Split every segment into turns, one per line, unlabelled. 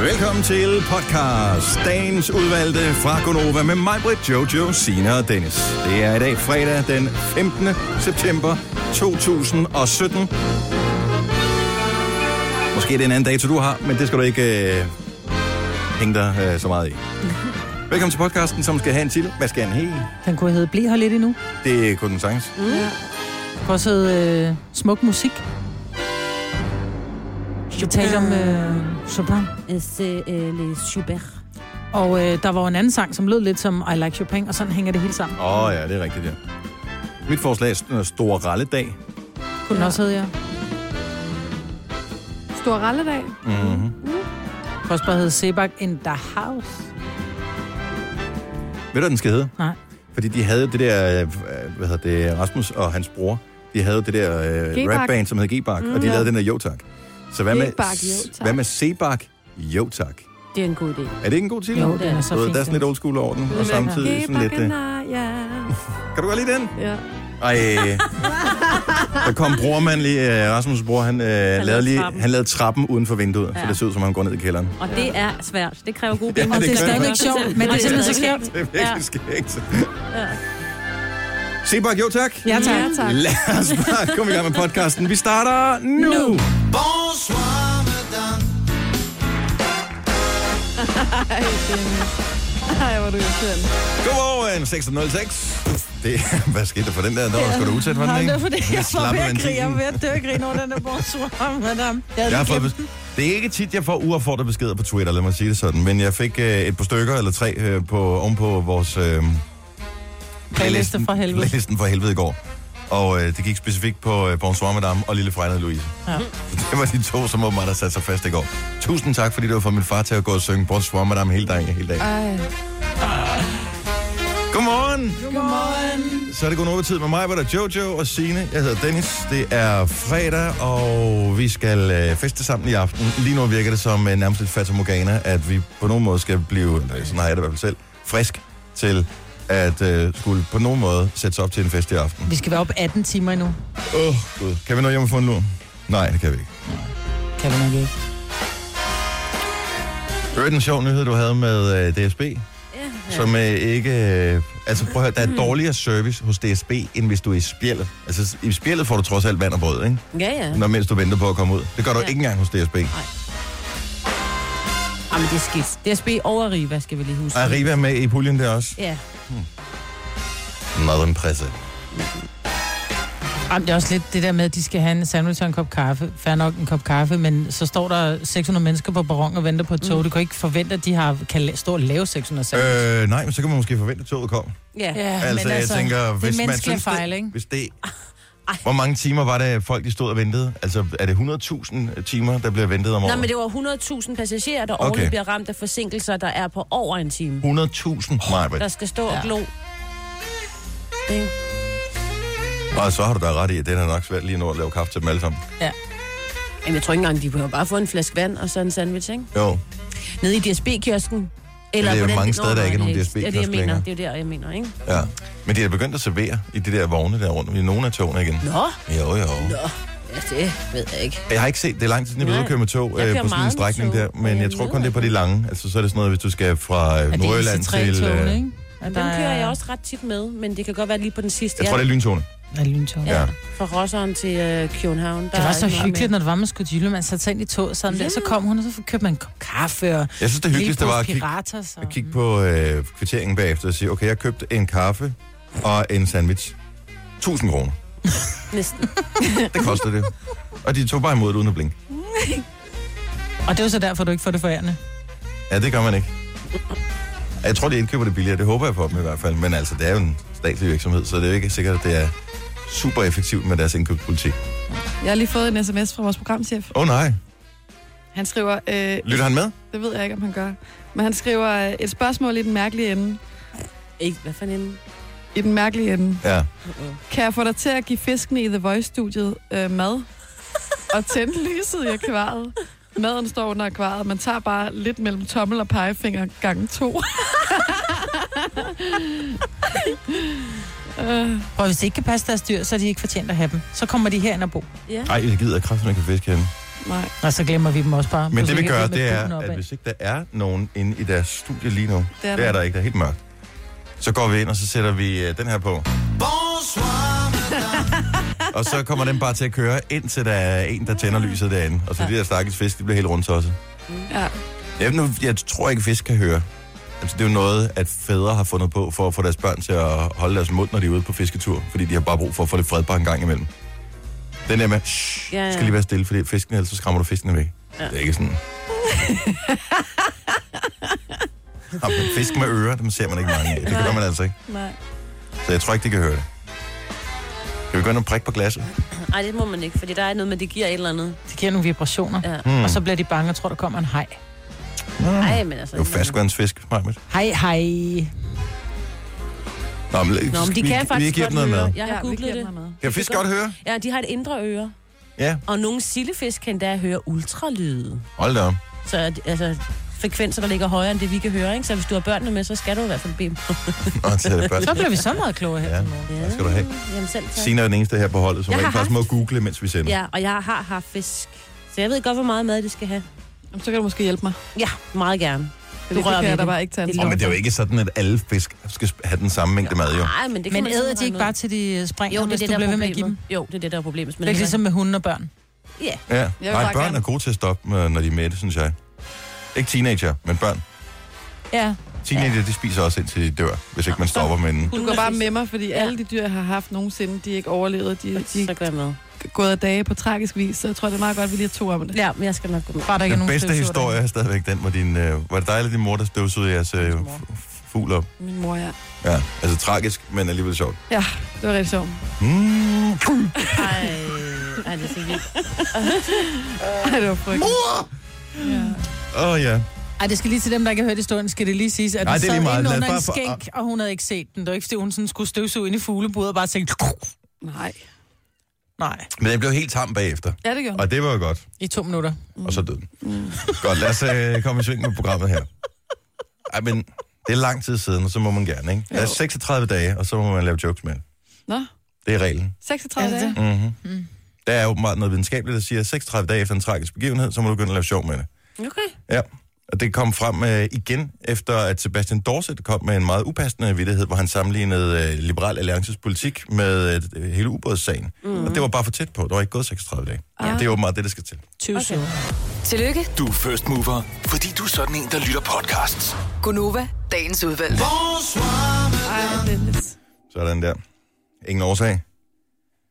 Velkommen til podcast Dagens Udvalgte fra Gonova med mig, Britt, Jojo, Sina og Dennis. Det er i dag fredag den 15. september 2017. Måske er det en anden dato, du har, men det skal du ikke øh, hænge dig øh, så meget i. Velkommen til podcasten, som skal have en titel. Hvad skal han have?
Den kunne hedde Bliv her lidt endnu.
Det kunne den sagtens.
Mm. Ja. Kunne også hedde øh, Smuk Musik. Vi talte om øh, Chopin. øh,
Les Schubert.
Og øh, der var jo en anden sang, som lød lidt som I Like Chopin, og sådan hænger det hele sammen.
Åh oh, ja, det er rigtigt, ja. Mit forslag er Store Ralledag.
Kunne den også hedde, ja.
Stor ralledag.
Mm-hmm.
Kunne også bare hedde Sebak in the House.
Ved du, hvad den skal hedde?
Nej.
Fordi de havde det der, øh, hvad hedder det, Rasmus og hans bror, de havde det der øh,
G-Bak.
rapband, som hed G-Bark, mm, og de
ja.
lavede den der Jo Tak. Så hvad med,
G-Bak, Jo
s-
Tak.
hvad med C-Bark? Jo Tak.
Det er en god idé.
Er det ikke en god titel?
Jo, den er så
Du ved,
fin.
Der er sådan lidt old school over den, og samtidig sådan lidt... Øh,
ja.
kan du godt lide den?
ja.
Ej, der kom brormand lige, øh, Rasmus' bror, han, øh, lavede lige,
trappen.
han lavede trappen uden for vinduet, ja. så
Ja.
det så ud, som om han går ned i kælderen.
Og det er svært. Det kræver gode
Ja,
penge.
det
Det er
gør
stadigvæk sjovt, men det er simpelthen så skævt.
Det er virkelig ja.
Ja.
skægt. Sebak, jo tak.
Ja, tak.
Ja, tak.
Lad os bare komme i gang med podcasten. Vi starter nu. nu.
Bonsoir, madame.
Ej, hvor er du irriterende.
Godmorgen, 606. Det, hvad skete der for den der? Der var sgu da udsat for den, ikke?
det er fordi, jeg får
Slap
ved
af
at grine. Jeg
ventilen.
var ved at dø og grine over den der bordsvarm, madame.
Jeg har fået bes- det er ikke tit, jeg får uaffordret beskeder på Twitter, lad mig sige det sådan. Men jeg fik øh, et par stykker eller tre øh, på, ovenpå vores... Øh,
Playliste fra helvede.
Playlisten fra helvede i går. Og øh, det gik specifikt på øh, Bonsoir Madame og Lille Fregnede Louise.
Ja.
Det var de to, som åbenbart har sat sig fast i går. Tusind tak, fordi du har fået min far til at gå og synge Bonsoir Madame hele dagen. Hele dagen.
Ej.
Godmorgen! Godmorgen! Så er det gået over tid med mig, hvor der er Jojo og Sine. Jeg hedder Dennis. Det er fredag, og vi skal øh, feste sammen i aften. Lige nu virker det som øh, nærmest et fatamorgana, at vi på nogen måde skal blive, eller sådan har jeg det i hvert fald selv, frisk til at øh, skulle på nogen måde sætte sig op til en fest i aften.
Vi skal være op 18 timer endnu.
Åh, oh, Gud. Kan vi nå hjem og få en lur? Nej, det kan vi ikke.
Kan vi nok ikke.
Hørte en sjov nyhed, du havde med øh, DSB,
Ja, ja.
som øh, ikke... Øh, altså prøv at høre, der
Mm.
er dårligere service hos DSB, end hvis du er i spjældet. Altså s- i spjældet får du trods alt vand og brød, ikke?
ja, ja.
Når mens du venter på at komme ud. Det gør du ja.
Ja.
ikke engang hos DSB.
Jamen, det er skidt. DSB over Riva, skal vi lige huske.
Og Arriva er med i puljen der også.
Ja.
Meget impressive.
Jamen, det er også lidt det der med, at de skal have en sandwich og en kop kaffe. Fair nok en kop kaffe, men så står der 600 mennesker på perron og venter på et tog. Mm. Du kan ikke forvente, at de har, kan la- stå og lave 600 sandwich. Øh,
Øh, nej, men så kan man måske forvente, at toget kommer.
Ja.
ja,
altså, jeg tænker, hvis
det
man
er menneskelige
synes,
fejl,
det,
ikke?
hvis det... Hvor mange timer var det, folk de stod og ventede? Altså, er det 100.000 timer, der bliver ventet om året?
Nej, men det var 100.000 passagerer, der
Okay.
årligt bliver ramt af forsinkelser, der er på over en time.
100.000, Majbert.
Der skal stå og glo. Ikke?
Og så har du da ret i, at det er nok svært lige nu at lave kaffe til dem alle sammen.
Ja.
Jamen, jeg tror ikke engang, de behøver bare få en flaske vand og så en sandwich, ikke?
Jo,
Nede i DSB-kiosken. Eller
Det er jo
hvordan-
mange
Nå,
steder, der
nej,
ikke er nogen
det
DSB-kiosk
Ja, det, jeg mener.
længere.
Det er jo der, jeg mener, ikke?
ja. Men de er begyndt at servere i de der vogne der rundt i nogle af togene igen.
Nå,
Jo, jo.
nå. Ja, det ved jeg ikke.
Jeg har ikke set, det er lang tid siden, jeg ved
Nej.
at køre med tog
Jeg
øh,
kører
på sådan en
meget med
strækning
tog,
der,
og
men jeg
jeg
tror kun,
nyder
det er på de lange. Altså, så er det sådan noget, hvis du skal fra øh,
Er det
Nordjylland
IC3
til...
togene,
Øh,
ikke? Er
Den kører
er-
jeg også ret tit med, men det kan godt være lige på den sidste.
jeg tror, det er lyntogene.
Ja, lyntog.
Ja.
Ja.
Fra Rosseren til øh, København. Der
Det var
er
så
ikke noget
hyggeligt, når
med.
det var, man skulle dylle. Man satte sig ind i toget, sådan der, så kom hun, og så købte man en kop kaffe og
Jeg synes, det hyggeligste var at kigge,
pirater. Så.
at kigge på øh, kvitteringen bagefter og sige, okay, jeg købte en kaffe og en sandwich. 1000 kroner.
Næsten.
Det koster det. Og de tog bare imod det uden at blinke.
Og det er jo så derfor, du ikke får det forærende.
Ja, det gør man ikke. Jeg tror, de indkøber det billigere. Det håber jeg på dem i hvert fald. Men altså, det er jo en statslig virksomhed, så det er jo ikke sikkert, at det er super effektivt med deres indkøbspolitik.
Jeg har lige fået en sms fra vores programchef.
Åh oh, nej.
Han skriver, øh,
Lytter han med?
det ved jeg ikke, om han gør, men han skriver øh, et spørgsmål i den mærkelige ende.
Ikke, hvad for en?
I den mærkelige ende.
Ja.
Uh-uh.
Kan jeg få dig til at give fiskene i The Voice-studiet øh, mad? Og tænde lyset i akvariet? Maden står under akvariet. Man tager bare lidt mellem tommel og pegefinger gange to. øh,
Og hvis det ikke kan passe deres dyr, så er de ikke fortjent at have dem. Så kommer de herind og bo.
Ja.
Nej, jeg gider kraften, man kan fiske henne.
Nej.
Og så glemmer vi dem også bare.
Men
Så
det vi
kan
gør,
vi med
det
bukken
er,
opad.
at hvis ikke der er nogen inde i deres studie lige nu,
Det er
det er
der.
der ikke, der er helt mørkt, så går vi ind, og så sætter vi øh, den her på.
Bonsoir,
Og så kommer den bare til at køre, indtil der er en, der tænder lyset derinde. Og så de der stakkels fisk, de bliver helt rundt også.
Ja.
Jeg, nu, jeg tror ikke, fisk kan høre. Altså, det er jo noget, at fædre har fundet på for at få deres børn til at holde deres mund, når de er ude på fisketur. Fordi de har bare brug for at få lidt fred bare en gang imellem. Den der med, shh,
Ja,
ja,
ja.
ja. skal lige være stille, fordi fisken, ellers så skræmmer du fiskene væk. Ja. Det er ikke sådan... Nå, men fisk med ører, dem ser man ikke mange af. Det gør man altså ikke.
Nej.
Så jeg tror ikke, de kan høre det. Kan vi gå ind og prikke på glasset?
Nej, Ah. det må man ikke, fordi der er noget med, det giver et eller andet.
Det giver nogle vibrationer.
Ja.
Mm. Og så bliver de bange og tror, der kommer en hej.
Nej, men altså...
Hmm. Det er jo ferskvandsfisk, Marmit.
Hej, hej.
Nå, men,
Nå, men de
vi,
kan
vi,
faktisk
vi giver
godt
dem noget
høre.
med.
Jeg har
Ja, vi
googlet
giver
det.
dem noget
Kan fisk
kan
godt høre?
Ja, de har et indre øre,
Ja,
og nogle sildefisk kan endda høre ultralyde.
hold da op.
Så er det- altså, frekvenser, der ligger højere end det, vi kan høre, ikke? Så hvis du har børnene med, så skal du i hvert fald bede dem.
Nå, så er det først.
Så bliver vi så meget klogere her.
Ja.
Ja.
Tak skal du have.
Jamen selv tak.
Signe er den eneste her på holdet, som
Jeg
rent
har
faktisk må google, mens vi sender.
Ja, og jeg har haft fisk. Så jeg ved godt, hvor meget mad det skal have.
Jamen, så kan du måske hjælpe mig.
Ja, meget gerne.
Fordi
rører
det kan
ved
jeg da
det.
bare ikke tage
Det
ansvar.
Oh, men det er jo ikke sådan, at alle fisk skal sp- have den samme mængde mad, jo.
Nej, men det kan
Men
man
æder
sådan
de ikke
regne
bare til de øh, springer,
ud. Jo, det er
hvis
det,
du
der
bliver
er
ved med at give dem?
problemet. Jo, det er det, der er problemet.
Det er ikke ligesom med hunde og børn.
Ja,
Ja.
vil
Nej,
bare
børn
gerne.
er gode til at stoppe, øh, når de er mætte, synes jeg. Ikke teenager, men børn.
Ja.
Teenager, de spiser også indtil de dør, hvis ikke man stopper med den.
Du går bare med mig, fordi alle de dyr, jeg har haft nogensinde, de er ikke overlevet. De, de
Så
er
går jeg med.
gået af dage på tragisk vis, så jeg tror, det er meget godt, at vi lige har to om det.
Ja, men jeg skal nok gå med.
Bare der ikke er
Den
nogen
bedste
støvsuger
historie er stadigvæk den, hvor din... Øh, var det dig eller din mor, der støvsugede jeres øh,
Min
f-
mor.
f- fugl op?
Min mor, ja.
Ja, altså tragisk, men alligevel sjovt.
Ja, det var rigtig sjovt.
Mm.
Ej, ej, det er så vildt.
Ej, det var frygteligt. Ja.
Åh oh, ja.
derinde. Ej, det skal lige til dem, der ikke har hørt historien, skal det lige siges, at
Nej,
den
det er lige
sad
meget.
inde
Lad os
under en
bare få-
skænk, og hun havde ikke set den. Det var ikke, fordi hun sådan skulle støvsuge ind i fuglebudet og bare tænkte,
Nej.
nej,
Men den blev helt tam bagefter,
Ja, det gjorde
og det var jo godt.
i to minutter.
Og så døde den. Godt, lad os øh, komme i sving med programmet her. Ej, men det er lang tid siden, og så må man gerne, ikke? Der er
Jo.
36 dage, og så må man lave jokes med. det.
Nå,
Det er reglen.
36
Er det
dage.
det?
Mm-hmm. Mm. Der er åbenbart noget videnskabeligt, der siger, at 36 dage efter en tragisk begivenhed, så må du begynde at lave sjov med det.
Okay.
Ja, og det kom frem øh, igen, efter at Sebastian Dorset kom med en meget upassende vidtighed, hvor han sammenlignede øh, Liberal Alliances politik med øh, hele ubådssagen. Mm. Og det var bare for tæt på. Det var ikke gået 36 dage. Ja. Det er åbenbart det, der skal til.
20 okay.
Tillykke,
Du er first mover, fordi du er sådan en, der lytter podcasts.
Gunova, dagens udvalgte.
bonsoir,
Ej, Dennis.
Sådan der. Ingen årsag.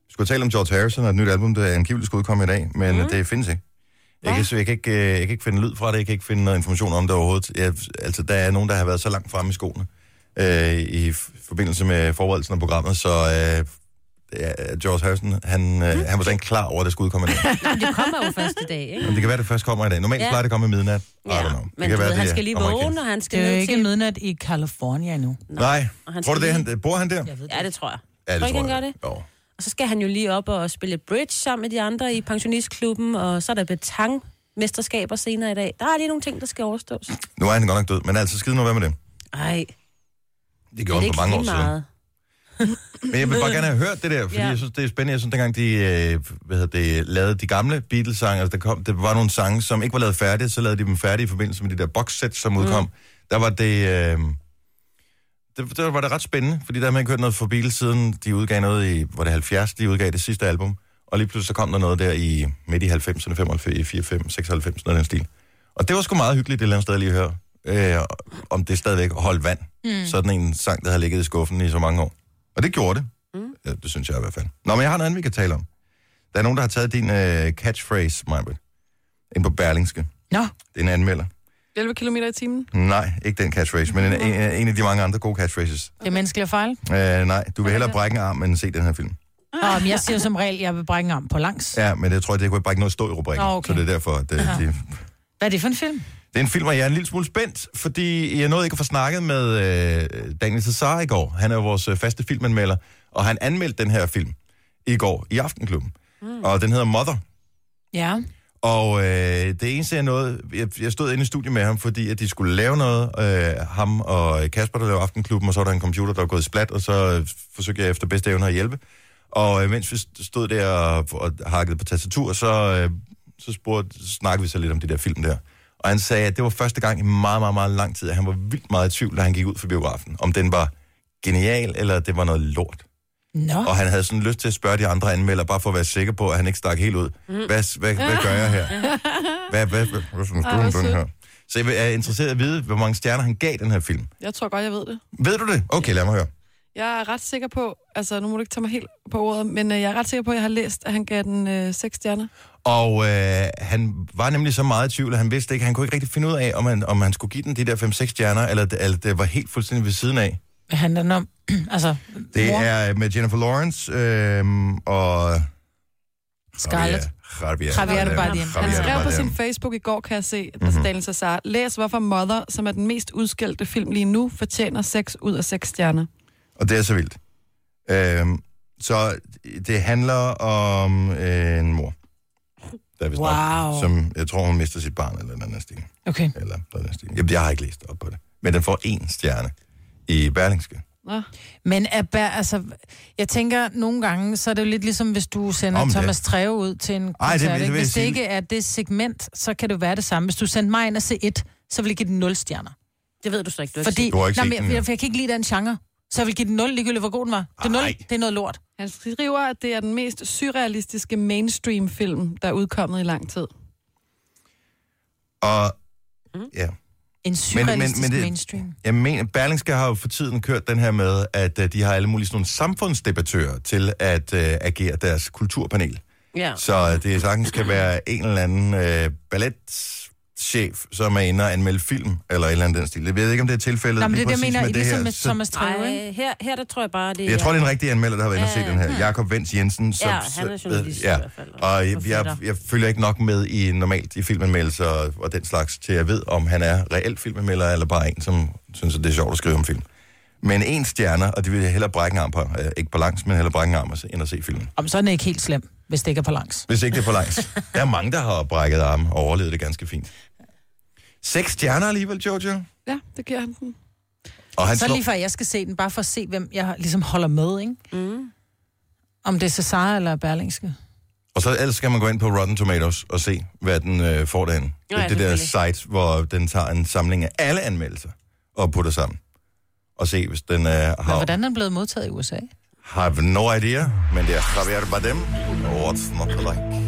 Vi skulle tale om George Harrison og et nyt album, der angiveligt skulle udkomme i dag, men mm. det findes ikke. Jeg kan, så jeg, kan ikke, øh, jeg kan ikke finde lyd fra det, jeg kan ikke finde noget information om det overhovedet. Jeg, altså, der er nogen, der har været så langt fremme i skoene øh, i f- forbindelse med forberedelsen af programmet, så øh, ja, George Harrison, han, øh,
Mm.
han var slet ikke klar over, at det skulle udkomme i dag.
Men det kommer jo første dag, ikke?
Men det kan være, det først kommer i dag. Normalt
Ja.
ja. plejer det at komme i midnat. I don't know.
men
kan være,
du ved,
det
han
er
skal lige
amerikansk.
vågne, og han skal
Det er jo
ned
ikke
til...
midnat i California endnu.
Nej.
Og han
Tror du,
skal
det, er han, bor han der?
ved
Ja, det tror jeg.
Ja,
Tror ikke, han gør
Jo.
Og så skal han jo lige op og spille bridge sammen med de andre i pensionistklubben, og så er der betangmesterskaber senere i dag. Der er lige nogle ting, der skal overstås.
Nu er han godt nok død, men altså skide nu, hvad med det?
Ej,
Det
det er
gjorde han
ikke
for mange år
lige
siden.
meget.
Men jeg vil bare gerne have hørt det der, fordi ja.
Ja.
jeg synes, det er spændende. Jeg synes, dengang de øh, hvad hedder det, lavede de gamle Beatles-sange, altså der, kom, der var nogle sange, som ikke var lavet færdige, så lavede de dem færdige i forbindelse med de der boxsets, som udkom. Mm. Der var det... Øh, det, der var det ret spændende, fordi der havde man ikke hørt noget fra Beatles siden. De udgav noget i, var det 70, de udgav det sidste album. Og lige pludselig så kom der noget der i midt i 90'erne, 95, 94, 96, noget af den stil. Og det var sgu meget hyggeligt et eller andet sted lige at høre, øh, om det stadigvæk holdt vand. Mm. Sådan en sang, der havde ligget i skuffen i så mange år. Og det gjorde det. Mm. Ja, det synes jeg i hvert fald. Nå, men jeg har noget andet, vi kan tale om. Der er nogen, der har taget din øh, catchphrase, Majbrit, ind på Berlingske.
Nå,
Det er en anmelder.
11 km i timen.
Nej, ikke den catchphrase, men en, en, en af de mange andre gode catchphrases.
det er menneskelige fejl.
Øh, nej, du vil hellere brække en arm, end se den her film.
Nå, men jeg siger jo som regel, jeg vil bringe arm på langs.
Ja, men jeg tror, det kunne bare ikke noget at stå i rubrikken.
Nå, okay.
Så det er derfor, at det, det,
Hvad er det for en film?
det er en film, og jeg er en lille smule spændt, fordi jeg nåede ikke at få snakket med øh, Daniel Cesar i går. Han er jo vores øh, faste filmanmelder, og han anmeldte den her film i går i Aftenklubben. Mm. Og den hedder Mother.
Ja.
Og øh, det eneste jeg nåede, jeg, jeg stod inde i studiet med ham, fordi at de skulle lave noget, øh, ham og Kasper, der lavede Aftenklubben, og så var der en computer, der var gået i splat, og så øh, forsøgte jeg efter bedste evne at hjælpe. Og øh, mens vi st- stod der og, og hakkede på tastatur, så øh, så spurgte, snakkede vi så lidt om de der film der. Og han sagde, at det var første gang i meget, meget, meget lang tid, at han var vildt meget i tvivl, da han gik ud for biografen, om den var genial, eller det var noget lort.
Nå,
Og han havde sådan lyst til at spørge de andre anmeldere, bare for at være sikker på, at han ikke stak helt ud. Hvad, hvad, hvad gør jeg her? Hvad, hvad, hvad, hvad synes du
hvor
om den
sødt.
her? Så jeg er interesseret i at vide, hvor mange stjerner han gav den her film.
Jeg tror godt, jeg ved det.
Ved du det? Okay, lad mig høre.
Jeg er ret sikker på, altså nu må du ikke tage mig helt på ordet, men øh, jeg er ret sikker på, at jeg har læst, at han gav den øh, 6 stjerner.
Og øh, han var nemlig så meget i tvivl, at han vidste ikke, han kunne ikke rigtig finde ud af, om han, om han skulle give den de der 5-6 stjerner, eller, det- eller det var helt fuldstændig ved siden af.
hvad handler den om? altså,
Det
mor,
er med Jennifer Lawrence øh, og...
Scarlett.
Javier,
Javier Bardem.
Han
Ja,
skrev på sin Facebook i går, kan jeg se,
Mhm.
der mm-hmm. Daniel Cesar, læs hvorfor Mother, som er den mest udskældte film lige nu, fortjener 6 ud af 6 stjerner.
Og det er så vildt. Øhm, så det handler om øh, en mor. Der er vist
Wow.
Nok, som jeg tror, hun mister sit barn eller en anden stil.
Okay.
Eller noget i den stil. Jamen, jeg har ikke læst op på det. Men den får én stjerne i Berlingske.
Nå.
Men er bær, altså, jeg tænker, nogle gange, så er det jo lidt ligesom, hvis du sender
Om
Om
det.
Thomas Treve ud til en
Ej, det-
koncert.
det
ikke?
vil jeg
hvis det
sige-
ikke er det segment, så kan det jo være det samme. Hvis du sendte mig ind og se et, så vil jeg give den 0 stjerner.
Det ved du så ikke, du har
Fordi,
Du har ikke
nej,
set
men, jeg,
den, ja.
jeg, jeg kan ikke lide den genre. Så jeg vil give den 0, ligegyldigt hvor god den var. Det er, 0,
Ej.
det er noget lort.
Han skriver, at det er den mest surrealistiske mainstream-film, der er udkommet i lang tid.
Og ja,
En surrealistisk men, men, men
det-
det... mainstream.
jeg mener, Berlingske har jo for tiden kørt den her med, at øh, de har alle mulige sådan nogle samfundsdebattører til at øh, agere deres kulturpanel.
Ja.
Så øh, det sagtens kan være en eller anden øh, balletchef, som er inde og anmelde film, eller et eller andet den stil. Jeg ved ikke, om det er tilfældet
Nej, men det er
lige
det,
præcis
jeg mener,
med det
ligesom
her.
med
Så-
Thomas Treve, ikke?
Ej, her, her der tror jeg bare, det
jeg tror, det er en rigtig anmelder, der har været inde og set den her. Jakob Vents Jensen. Som,
Ja, han er journalist
ja.
i hvert fald, og
Og jeg, jeg, jeg følger ikke nok med i normalt i filmanmeldelser og, og den slags, til jeg ved, om han er reelt filmanmelder, eller bare en, som synes, at det er sjovt at skrive om film. Men en stjerne, og det vil jeg hellere brække en arm på. Øh, Ikke på langs, men hellere brække en arm, og se- end at se filmen.
Om så er den ikke helt slem, hvis det ikke er på langs.
Hvis ikke det er for langt. Der er mange, der har brækket arme og overlevet det ganske fint. Seks stjerner alligevel, Jojo.
Ja, det giver han den.
Og han
Så er det
slår...
lige før, jeg skal se den, bare for at se, hvem jeg ligesom holder med, ikke? Mm. Om det er Cesar eller Berlingske.
Og så ellers skal man gå ind på Rotten Tomatoes og se, hvad den øh, får derhen. Nå,
Nå ja,
det, det der
selvfølgelig.
site, hvor den tager en samling af alle anmeldelser og putter sammen. Og se, hvis den øh,
Men
har...
hvordan er den blevet modtaget i USA?
Have no idea, men det er Javier Bardem. What's not to like?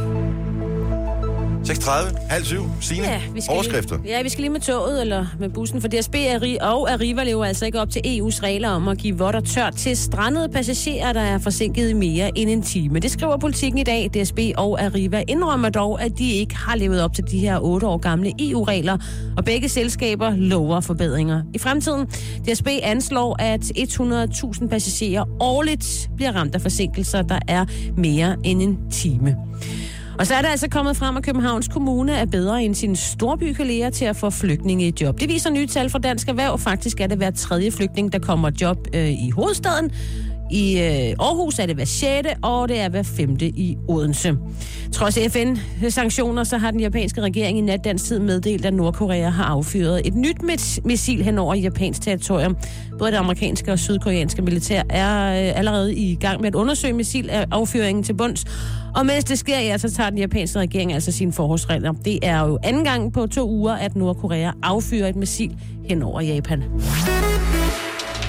6.30, halv syv, Signe,
Ja, vi skal
overskrifter.
Lige, ja, vi skal lige med toget eller med bussen, for DSB Ari- og Arriva lever altså ikke op til EU's regler om at give vådt og tørt til strandede passagerer, der er forsinket i mere end en time. Det skriver politikken i dag. DSB og Arriva indrømmer dog, at de ikke har levet op til de her otte år gamle EU-regler, og begge selskaber lover forbedringer. I fremtiden, DSB anslår, at 100.000 passagerer årligt bliver ramt af forsinkelser, der er mere end en time. Og så er det altså kommet frem, at Københavns Kommune er bedre end sine storbykolleger til at få flygtninge i job. Det viser nye tal fra Dansk Erhverv. Faktisk er det hver tredje flygtning, der kommer i job øh, i hovedstaden. I øh, Aarhus er det hver sjette, og det er hver femte i Odense. Trods FN-sanktioner, så har den japanske regering i nat dansk tid meddelt, at Nordkorea har affyret et nyt mis- missil hen over japansk territorium. Både det amerikanske og sydkoreanske militær er øh, allerede i gang med at undersøge missilaffyringen til bunds. Og mens det sker, ja, så tager den japanske regering altså sine forholdsregler. Det er jo anden gang på to uger, at Nordkorea affyrer et missil hen over Japan.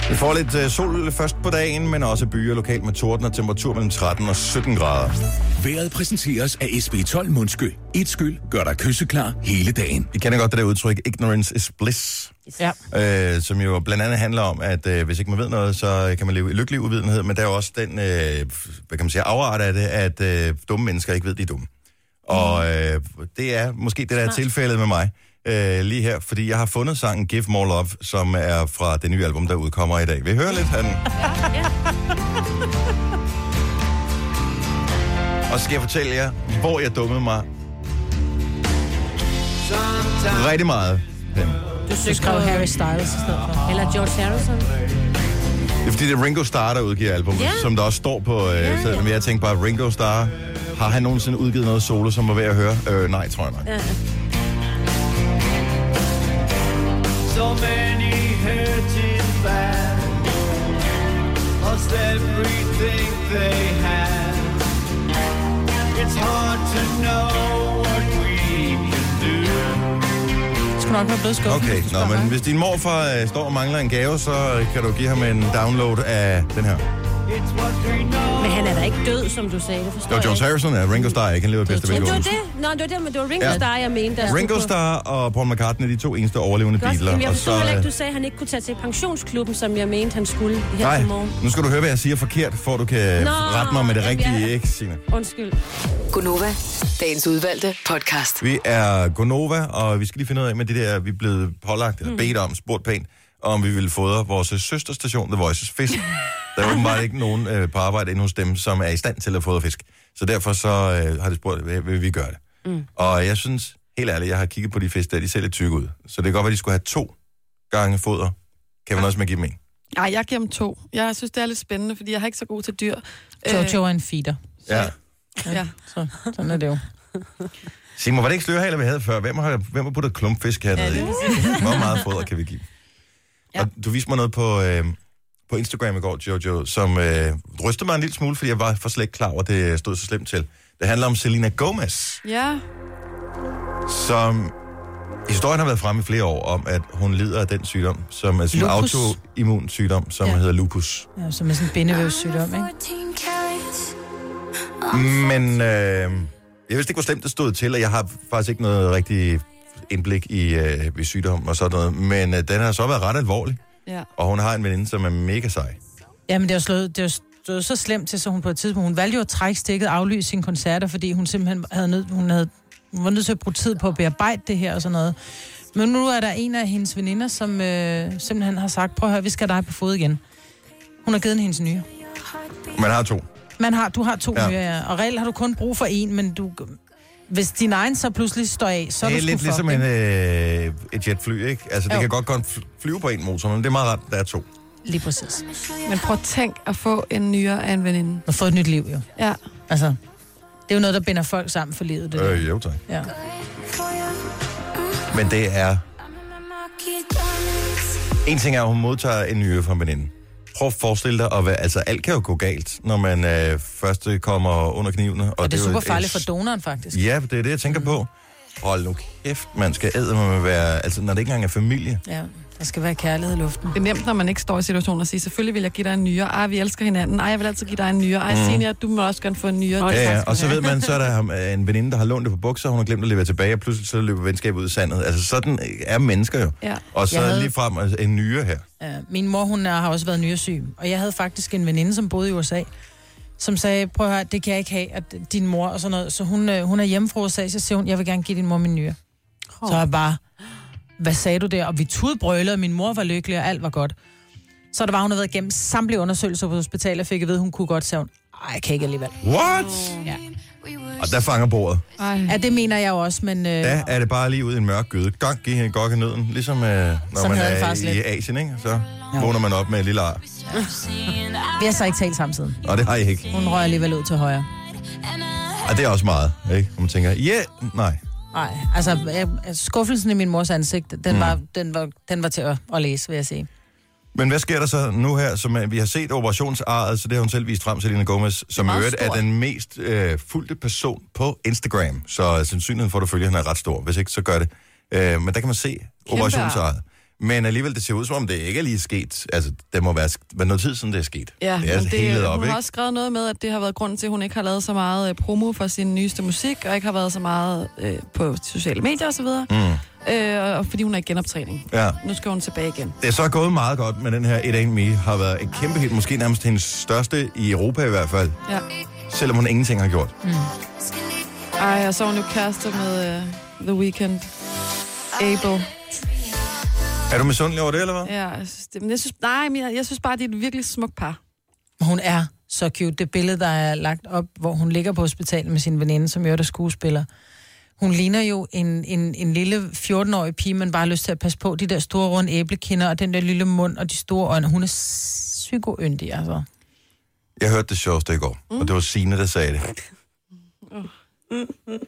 Vi får lidt øh, sol først på dagen, men også byer lokalt med torden og temperatur mellem 13 og 17 grader.
Været præsenteres af SB12 Mundskyl. Et skyl gør dig kysseklar hele dagen.
I kender godt det der udtryk, ignorance is bliss,
Ja.
øh, som jo blandt andet handler om, at øh, hvis ikke man ved noget, så kan man leve i lykkelig uvidenhed, men der er jo også den, øh, hvad kan man sige, afart af det, at øh, dumme mennesker ikke ved, de er dumme. Og øh, det er måske det, der er tilfældet med mig øh, lige her, fordi jeg har fundet sangen Give More Love, som er fra det nye album, der udkommer i dag. Vil I høre lidt af den? Og så skal jeg fortælle jer, hvor jeg dummede mig rigtig meget. Dem.
Du skrev Harry Styles i stedet for.
Eller George Harrison.
Det er fordi, det er Ringo Starr, der udgiver albumet,
Ja.
yeah. som der også står på øh, yeah, sædet. Men jeg tænkte bare, Ringo Starr, har han nogensinde udgivet noget solo, som var ved at høre? Øh, nej, tror jeg nok. Yeah.
So many hurting bad Lost everything they had It's hard to know what we can do.
Det skulle nok være blevet skuffet.
Okay,
hvis du
nå,
spørger
men
mig.
hvis din morfar øh, står og mangler en gave, så kan du give ham en download af den her.
It's what we know.
Men han er da ikke død, som du sagde. Det forstår
Jo,
jeg
John
ikke.
Harrison er Ringo Starr, ikke? Han lever i bedste
Men det var
velgående.
det. Nå, det var det, men det var Ringo
Ja.
Starr, jeg mente. der
Ringo
stod på.
Starr og Paul McCartney er de to eneste overlevende
Godt,
Beatles.
Jamen, jeg
og
forstod
så,
heller
øh,
ikke, du sagde, at han ikke kunne tage til pensionsklubben, som jeg mente, han skulle her
øh, Nej,
til morgen.
nu skal du høre, hvad jeg siger forkert, for at du kan
Nå,
rette mig med det
jamen,
rigtige,
ja.
ikke, Signe?
Undskyld.
Gunova, dagens udvalgte podcast.
Vi er Gonova, og vi skal lige finde ud af med det der, vi er blevet pålagt, eller bedt om, spurgt pænt, om vi ville fodre vores øh, søsterstation, The Voices Fisk. Der er åbenbart ikke nogen øh, på arbejde inde hos dem, som er i stand til at fodre fisk. Så derfor så øh, har de spurgt, vil, vil vi gøre det? Mm. Og jeg synes, helt ærligt, jeg har kigget på de fisk der, de ser lidt tykke ud. Så det kan godt være, de skulle have to gange foder. Kan man også med give dem en?
Nej, jeg giver dem to. Jeg synes, det er lidt spændende, fordi jeg er ikke så god til dyr.
Jojo er en feeder.
Ja.
Øh, ja.
Så, sådan er det jo.
Simon, var det ikke slørhaler, vi havde før? Hvem har, hvem har puttet klumpfisk hernede? i? Hvor meget foder kan vi give? Ja.
Ja.
Og du viste mig noget på, øh, på Instagram i går, Jojo, som øh, rystede mig en lille smule, fordi jeg var for slet ikke klar over, at det stod så slemt til. Det handler om Selena Gomez,
ja.
som historien har været fremme i flere år om, at hun lider af den sygdom, som er sådan en
Lupus.
autoimmun sygdom, som ja.
Ja.
hedder lupus.
Ja, som er sådan en bindevævssygdom, ikke?
Men øh, jeg vidste ikke, hvor slemt det stod til, og jeg har faktisk ikke noget rigtig indblik i, øh, i sygdom og sådan noget. Men øh, den har så været ret alvorlig,
ja.
og hun har en veninde, som er mega sej.
Jamen, det er jo slået, det er jo stået så slemt til, så hun på et tidspunkt, hun valgte jo at trække stikket og aflyse sine koncerter, fordi hun simpelthen havde nød, hun havde, hun var nødt til at bruge tid på at bearbejde det her og sådan noget. Men nu er der en af hendes veninder, som øh, simpelthen har sagt, prøv at høre, vi skal have dig på fod igen. Hun har givet hende hendes nye.
Man har to.
Man har, du har to
Ja.
ja. nye, ja. og reelt har du kun brug for en, men du, hvis din egen så pludselig står af, så er
Det
du
er
sgu
lidt
fucked,
ligesom en,
ikke?
øh, et jetfly, ikke? Altså, det
Jo.
kan godt godt fl- flyve på en motor, men det er meget rart, der er to.
Lige præcis. Man
Men prøv at tænk at få en nyere af en veninde.
har fået et nyt liv, jo.
Ja.
Altså, det er jo noget, der binder folk sammen for livet. Det der.
Øh, jo, tak.
Ja.
Men det er... En ting er, at hun modtager en nyere fra en veninde. Prøv at forestille dig, at være, altså, alt kan jo gå galt, når man øh, først kommer under knivene. Og,
Og det er
jo
super
et-
farligt for donoren, faktisk.
Ja, det er det, jeg tænker på. Hold nu kæft, man skal æde med være... Altså, når det ikke engang er familie.
Ja, der skal være kærlighed i luften.
Det er nemt, når man ikke står i situationen og siger, selvfølgelig vil jeg give dig en nyere. Ej, vi elsker hinanden. Ej, jeg vil altid give dig en nyere. Ej, senior, du må også gerne få en nyere.
Åh,
Ja, ja,
tak skal
og
du
så
have.
ved man, så er der ham- øh, en veninde, der har lånt det på bukser, og hun har glemt at levere tilbage, og pludselig så løber venskabet ud i sandet. Altså, sådan øh, er mennesker jo.
Ja.
Og så
Jeg havde-
lige frem altså, en nyere her.
Ja, Øh, min mor, hun er, har også været nyresyg, og jeg havde faktisk en veninde, som boede i USA, som sagde, prøv at høre, det kan jeg ikke have, at din mor og sådan noget. Så hun, øh, hun er hjemme fra USA, så siger hun, jeg vil gerne give din mor min nyre. Oh. Så er jeg bare, hvad sagde du der? Og vi tudbrølede, og min mor var lykkelig, og alt var godt. Så der var, hun havde været igennem samtlige undersøgelser på hospitalet, og fik at vide, hun kunne godt, sagde hun, Ej, jeg kan ikke alligevel.
What?
Ja.
Og der fanger bordet.
Ej.
ja, det mener jeg jo også, men... Øh,
Der er det bare lige ud i en mørk gyde. Godt give hende godt i nøden. Ligesom øh, når
Sådan
man
havde jeg
er
faktisk
i
lidt.
Asien, ikke? Så vågner man op med et lille ar.
Vi har så ikke talt sammen siden.
Og det har jeg ikke.
Hun røg alligevel ud til højre.
Og det er også meget, ikke? Hvor man tænker, ja, yeah, nej.
Nej, altså
Mm.
øh, skuffelsen i min mors ansigt, den, mm. var, den, var, den var til at, at læse, vil jeg sige.
Men hvad sker der så nu her? Som, øh, vi har set operationsarret, så det har hun selv vist frem, Selina Gomez, som i
meget
øvrigt er
stort.
den mest øh, fulgte person på Instagram. Så sandsynligheden for, at du følger hende er ret stor. Hvis ikke, så gør det. Øh, men der kan man se operationsarret. Men alligevel, det ser ud som om, det ikke er lige sket. Altså, det må være, sk- være noget tid siden, det er sket.
Ja,
det er
men
altså
det, øh,
helt
hun
op,
har
ikke?
også skrevet noget med, at det har været grunden til, at hun ikke har lavet så meget øh, promo for sin nyeste musik, og ikke har været så meget øh, på sociale medier osv., mm. øh, og fordi hun er i genoptræning.
Ja.
Nu skal hun tilbage igen.
Det er så gået meget godt med den her It Ain't Me. Har været et kæmpe hit, måske nærmest hendes største i Europa i hvert fald.
Ja.
Selvom hun ingenting har gjort.
Ej, og så er hun jo kærester med øh, The Weeknd. Abel.
Er du misundelig over det, eller hvad?
Ja, jeg synes, det, men jeg synes, nej, men jeg, jeg synes bare, det er et virkelig smukt par.
Hun er så cute. Det billede, der er lagt op, hvor hun ligger på hospitalet med sin veninde, som jo er der skuespiller. Hun ligner jo en, en, en lille 14-årig pige, man bare har lyst til at passe på. De der store runde æblekinder, og den der lille mund, og de store øjne. Hun er psykoyndig, altså.
Jeg hørte det sjoveste i går,
Mm.
og det var Signe, der sagde det.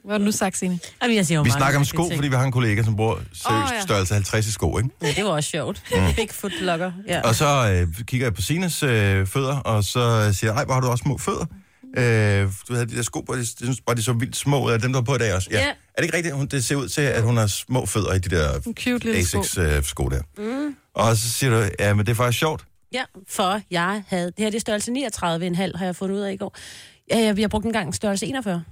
Hvad har du nu sagt, Signe?
Jamen, jeg siger jo
Vi
mange
snakker om
mærkelige
sko,
ting.
fordi vi har en kollega, som bruger seriøst
Åh, ja.
størrelse 50 i sko, ikke?
Ja, det var også sjovt.
Mm.
Bigfoot blogger. Ja.
Og så øh, kigger jeg på Sines øh, fødder, og så siger jeg, ej, hvor har du også små fødder. Øh, du havde de der sko på, jeg synes bare, de så vildt små. ud. Er dem, der var på i dag også?
Ja.
Er det ikke rigtigt, at hun, det ser ud til, at hun har små fødder i de der
En cute lille sko.
Asics-sko øh, sko der? Mm. Og så siger du, ja, men det er faktisk sjovt.
Ja, for jeg havde... Det her det er størrelse 39,5, har jeg fundet ud af i går. Ja, jeg, jeg brugte engang størrelse 41.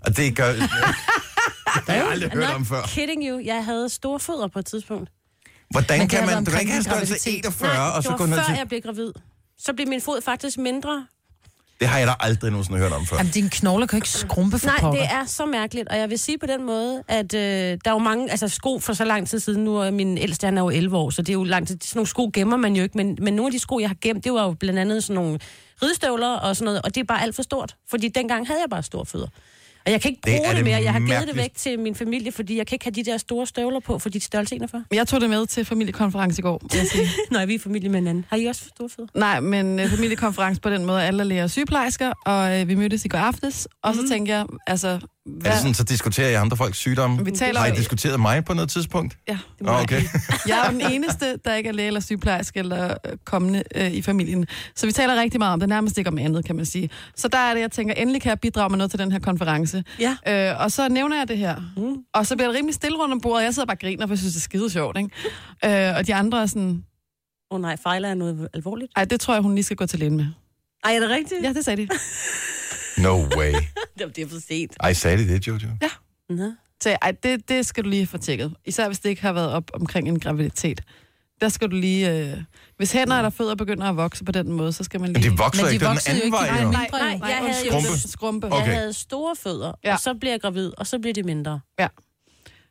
Og det gør... det har jeg aldrig hørt om før.
kidding you. Jeg havde store fødder på et tidspunkt.
Hvordan
Men det
kan
har været
man
omkring
drikke
min
en størrelse
graviditet.
41, og så
det
gå
var
ned
før
til...
jeg blev gravid. Så blev min fod faktisk mindre.
Det har jeg da aldrig nogensinde hørt om før.
Jamen, dine knogler kan jo ikke skrumpe for
Nej,
pokker.
det er så mærkeligt, og jeg vil sige på den måde, at øh, der er jo mange altså, sko for så lang tid siden nu, og min ældste han er jo 11 år, så det er jo lang tid. Sådan nogle sko gemmer man jo ikke, men, men nogle af de sko, jeg har gemt, det var jo blandt andet sådan nogle ridestøvler og sådan noget, og det er bare alt for stort, fordi dengang havde jeg bare store fødder. Og jeg kan ikke
Det er
bruge det,
det
det mere. Jeg har givet det
mærkeligste.
væk til min familie, fordi jeg kan ikke have de der store støvler på, fordi de er størrelse 41.
Men Jeg tog det med til familiekonference i går. vil jeg sige.
Nå, vi er familie med hinanden. Har I også store fødder?
Nej, men øh, familiekonference på den måde, alle er læger og sygeplejersker, og øh, vi mødtes i går aftes, og så tænkte jeg, altså,
Er
hvad,
det sådan, så diskuterer jeg andre folks sygdomme?
vi taler
Har
om,
I diskuteret mig på noget tidspunkt?
ja, det
Nå,
må jeg
okay.
ikke. Jeg er jo den eneste, der ikke er læge eller sygeplejerske eller øh, kommende øh, i familien. Så vi taler rigtig meget om det, nærmest ikke om andet, kan man sige. Så der er det, jeg tænker, endelig kan jeg bidrage med noget til den her konference.
Ja.
Øh, og så nævner jeg det her. Mm. Og så bliver det rimelig stille rundt om bordet, og jeg sidder bare og griner, for jeg synes, det er skide sjovt, ikke? Øh, og de andre er sådan,
Åh oh, nej, fejler jeg noget alvorligt?
ej, det tror jeg, hun lige skal gå til lægen med.
Ej, er det rigtigt?
Ja, det sagde de.
No way.
Jamen, det er for sent.
Ej, sagde de det, Jojo?
Nå.
Så ej, det, det skal du lige få tjekket. Især hvis det ikke har været op omkring en graviditet. Der skal du lige... Øh, hvis hænder eller fødder begynder at vokse på den måde, så skal man
Men
lige...
de vokser
Men de
ikke, det er den
voksede jo
anden
ikke.
vej.
Nej,
jo.
nej.
nej, jeg havde jo-
undskyld.
Skrumpe?
Skrumpe.
Okay.
Okay.
Jeg havde store fødder, ja.
Ja.
og så bliver jeg gravid, og så bliver det mindre.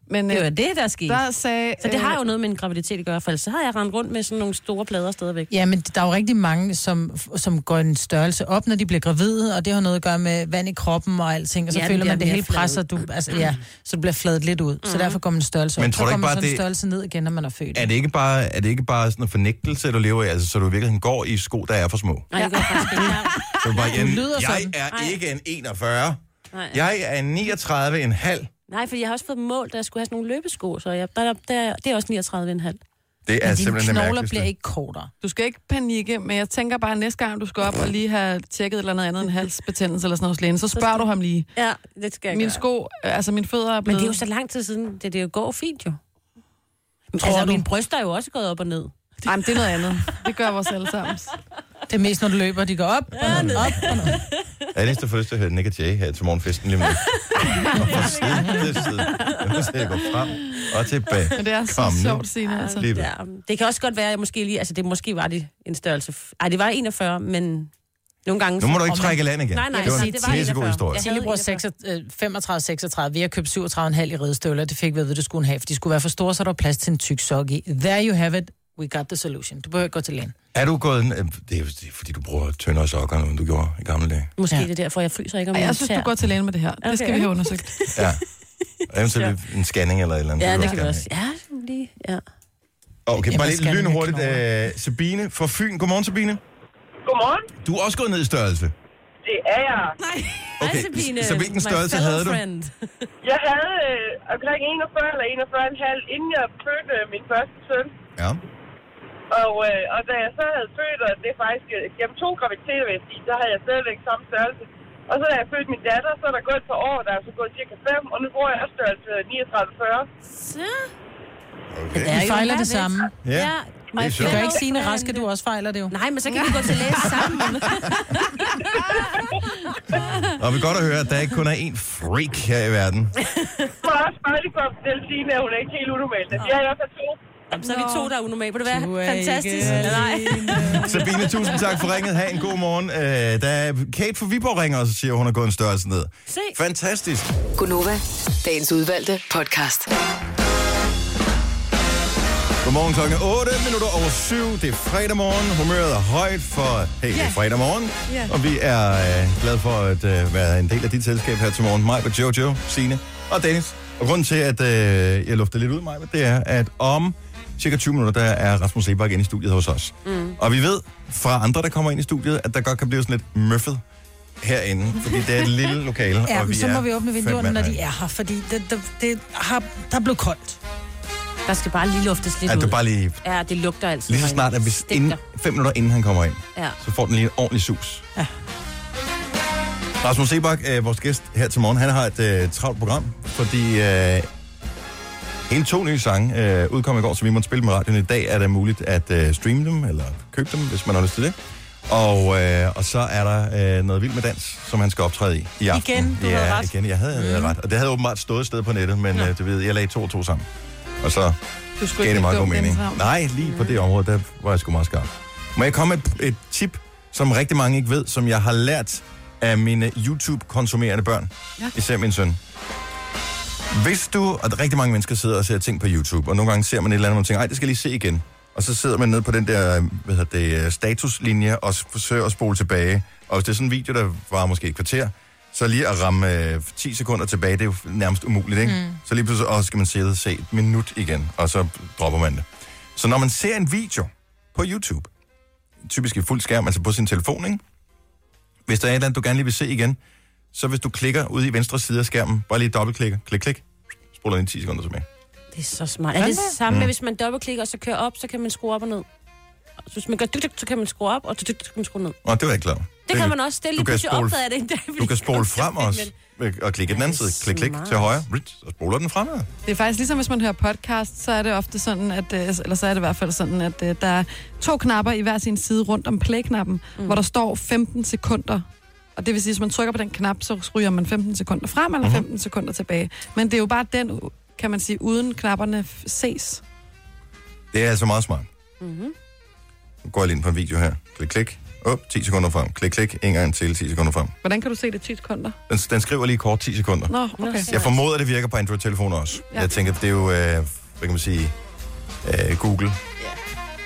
Men
Det
øh,
var det, der skete.
der sagde...
Så det
øh,
har jo noget med en graviditet at gøre, for ellers så har jeg rendt rundt med sådan nogle store plader stadigvæk.
Ja, men der er jo rigtig mange, som, som går en størrelse op, når de bliver gravide, og det har noget at gøre med vand i kroppen og alting, og så
Ja,
ja,
den
føler
bliver
man, det
mere
hele
flad.
presser, du, altså, ja, så du bliver fladet lidt ud. Så derfor går man en størrelse op.
Men
så
tror du ikke
kommer
bare,
sådan en
det-
størrelse ned igen, når man er født.
Er det ikke bare, er det ikke bare sådan en fornægtelse, du lever i? Altså, så du virkelig går i sko, der er for små?
Nej, det gør jeg faktisk ikke. Jeg-
Så du bare, jamen,
lyder
jeg
sådan."
er
Nej.
ikke en 41.
Nej.
Jeg er en 39,5.
Nej, for jeg har også fået mål, der skulle have sådan nogle løbesko, så jeg, der, der, der, det er også 39,5.
Det er
Men dine
simpelthen det
knogler bliver
mærkeligste.
ikke kortere.
Du skal ikke panikke, men jeg tænker bare, at næste gang, du skal op og lige have tjekket et eller andet andet, en halsbetændelse eller sådan noget hos lægen, så spørger du ham lige.
Ja, det skal jeg
Min
Min sko-
sko, øh, altså min fødder er
Men
blevet...
det er jo så lang tid siden, det, det jo går fint jo. Men,
Tror
altså,
du?
mine bryster er jo også gået op og ned.
Ej, men det er noget andet. Det gør vores allesammens.
Det er mest, når du løber, de går op og ned, op og ned.
Jeg er næsten for lyst til at høre Nick og Jay her til morgenfesten lige med. Og fra side til side. Jeg må se, jeg går frem og tilbage.
Men det er så
Kom nu.
sjovt, Signe. Altså.
Lige ved.
Ja, det kan også godt være, at jeg måske lige... Altså, det måske var det en størrelse... f- Ej, det var 41, men nogle gange...
Nu må du
og
ikke
man-
trække i land igen.
Nej, nej,
det var
nej,
en
det var
pissegod
41.
historie.
Jeg havde-
Lillebror 35-36, øh, vi har købt 37,5 i redestøvler, det fik vi at vide, du skulle have, for de skulle være for store, så der var plads til en tyk sok i. There you have it, we got the solution. Du behøver ikke gå til lægen.
Er du gået... en- øh, Det er, jo- det er fordi, du bruger tyndere sokker, nu, end du gjorde i gamle dage.
Måske
Ja.
ja. det er derfor, jeg fryser ikke om
Ej,
mine
jeg synes, du
tæer.
går til lægen med det her. Det skal
Okay.
vi have undersøgt.
Ja. Og Eventuelt en scanning eller et eller andet.
Ja, det
også
kan vi
gerne
også. Ja, lige, ja.
have. Okay,
Jeg
bare
må
lige
scanne mine
lynhurtigt. Øh, Sabine fra Fyn. Godmorgen, Sabine.
Godmorgen.
Du er også gået ned i størrelse.
Det er jeg.
Okay, så hvilken størrelse havde du?
Jeg havde øh, omkring 41 eller 41,5, inden jeg fødte øh, min første søn.
Ja.
Og, øh, og da jeg så havde født, og det er faktisk øh, gennem to graviditeter, vil jeg sige, der havde jeg stadigvæk samme størrelse. Og så da jeg fødte min datter, så er der gået et par år, der er så gået cirka 5, og nu bruger jeg også størrelse 39-40.
Så.
Okay.
Vi fejler det samme.
Ja.
my
sjovt.
Du
Du
kan
kan
ikke sige, raske, du også fejler det jo.
Nej, men så kan vi gå til læge sammen.
Og vi kan godt at høre, at der ikke kun er én freak her i verden.
Så er også bare lige for at fortælle Signe, at hun er ikke helt unormal. Det er i hvert fald to.
Jamen, så er vi to, der er unormale. Vil det være
Du er
fantastisk?
ikke
Nej.
Sabine, tusind tak for ringet. Ha' en god morgen. Øh, da Kate fra Viborg ringer, og så siger, at hun har gået en størrelse ned.
Se.
Fantastisk.
Gunova, dagens udvalgte podcast.
Godmorgen klokken er 8 minutter over 7. Det er fredag morgen. Humøret er højt for, hey, det er fredag morgen.
Ja.
Og vi er øh, glade for at øh, være en del af dit selskab her til morgen. Mig og Jojo, Sine og Dennis. Og grunden til, at øh, jeg lufter lidt ud, mig, det er, at om cirka 20 minutter, der er Rasmus Sebak inde i studiet hos os. Mm. Og vi ved fra andre, der kommer ind i studiet, at der godt kan blive sådan lidt møffet herinde, fordi det er et lille lokale.
Ja,
og
men så
er
må vi åbne
fem
vinduerne,
mand
når de
herinde.
er her, fordi det, det, det har, der er blevet koldt.
Der skal bare lige luftes lidt
Ja,
ud.
det er bare lige,
Ja, det lugter altså.
lige så snart, at hvis inden, fem minutter inden han kommer ind,
Ja.
så får den lige en ordentlig sus. Rasmus Sebak, øh, vores gæst her til morgen, han har et øh, travlt program, fordi øh, hele to nye sange øh, udkom i går, så vi måtte spille med radioen. I dag er det muligt at øh, streame dem, eller købe dem, hvis man har lyst til det. Og, øh, og så er der øh, noget vild med dans, som han skal optræde i i aften.
Igen, du
ja,
havde ret. Mhm.
igen, jeg havde, jeg havde ret. Og det havde åbenbart stået et sted på nettet, men øh, det ved, jeg lagde to og to sammen. Og så
Du skulle
gav det
ikke
meget god
dumme,
mening.
Dennis Ravn.
Nej, lige på det område, der var jeg sgu meget skarp. Må jeg komme med et, et tip, som rigtig mange ikke ved, som jeg har lært af mine YouTube-konsumerende børn? Ja. Især min søn. Hvis du, og der er rigtig mange mennesker sidder og ser ting på YouTube, og nogle gange ser man et eller andet, og man tænker, ej, det skal jeg lige se igen. Og så sidder man nede på den der hvad hedder det, øh, statuslinje og s- forsøger at spole tilbage. Og hvis det er sådan en video, der var måske et kvarter, så lige at ramme øh, 10 sekunder tilbage, det er jo f- nærmest umuligt, ikke? Mm. Så lige pludselig også skal man sidde og se et minut igen, og så dropper man det. Så når man ser en video på YouTube, typisk i fuld skærm, altså på sin telefon, ikke? Hvis der er et eller andet, du gerne lige vil se igen, så hvis du klikker ude i venstre side af skærmen, bare lige dobbeltklikker, klik, klik, spoler den 10 sekunder tilbage.
Det er så smart. Er det det samme med,
Mm.
hvis man dobbeltklikker, og så kører op, så kan man skrue op og ned? Så hvis man gør dyk, dyk, så kan man skrue op, og dyk, dyk, så kan man skrue ned.
Nå, det var jeg ikke klar over.
Det kan man også. Det er
du
lige
kan
pludselig
spole-
opdaget det en dag.
Du kan spole frem også, øh, og klikke den anden
Ej,
side. Klik, klik,
smart.
til højre, Rit, så spoler den fremad.
Det er faktisk ligesom, hvis man hører podcast, så er det ofte sådan, at, øh, eller så er det i hvert fald sådan, at øh, der er to knapper i hver sin side rundt om play-knappen, mm. hvor der står 15 sekunder. Og det vil sige, at hvis man trykker på den knap, så ryger man 15 sekunder frem
Mhm.
eller 15 sekunder tilbage. Men det er jo bare den, kan man sige, uden knapperne f- ses.
Det er altså meget smart. Mm-hmm.
Mhm.
Nu går jeg lige ind på en video her. Klik, klik. Op, 10 sekunder frem. Klik, klik. En gang til, 10 sekunder frem.
Hvordan kan du se det 10 sekunder?
Den, den skriver lige kort 10 sekunder.
Nå, okay.
Jeg formoder, det virker på Android-telefoner også. Ja.
Ja.
Jeg tænker, det er jo, øh, hvad kan man sige, øh, Google,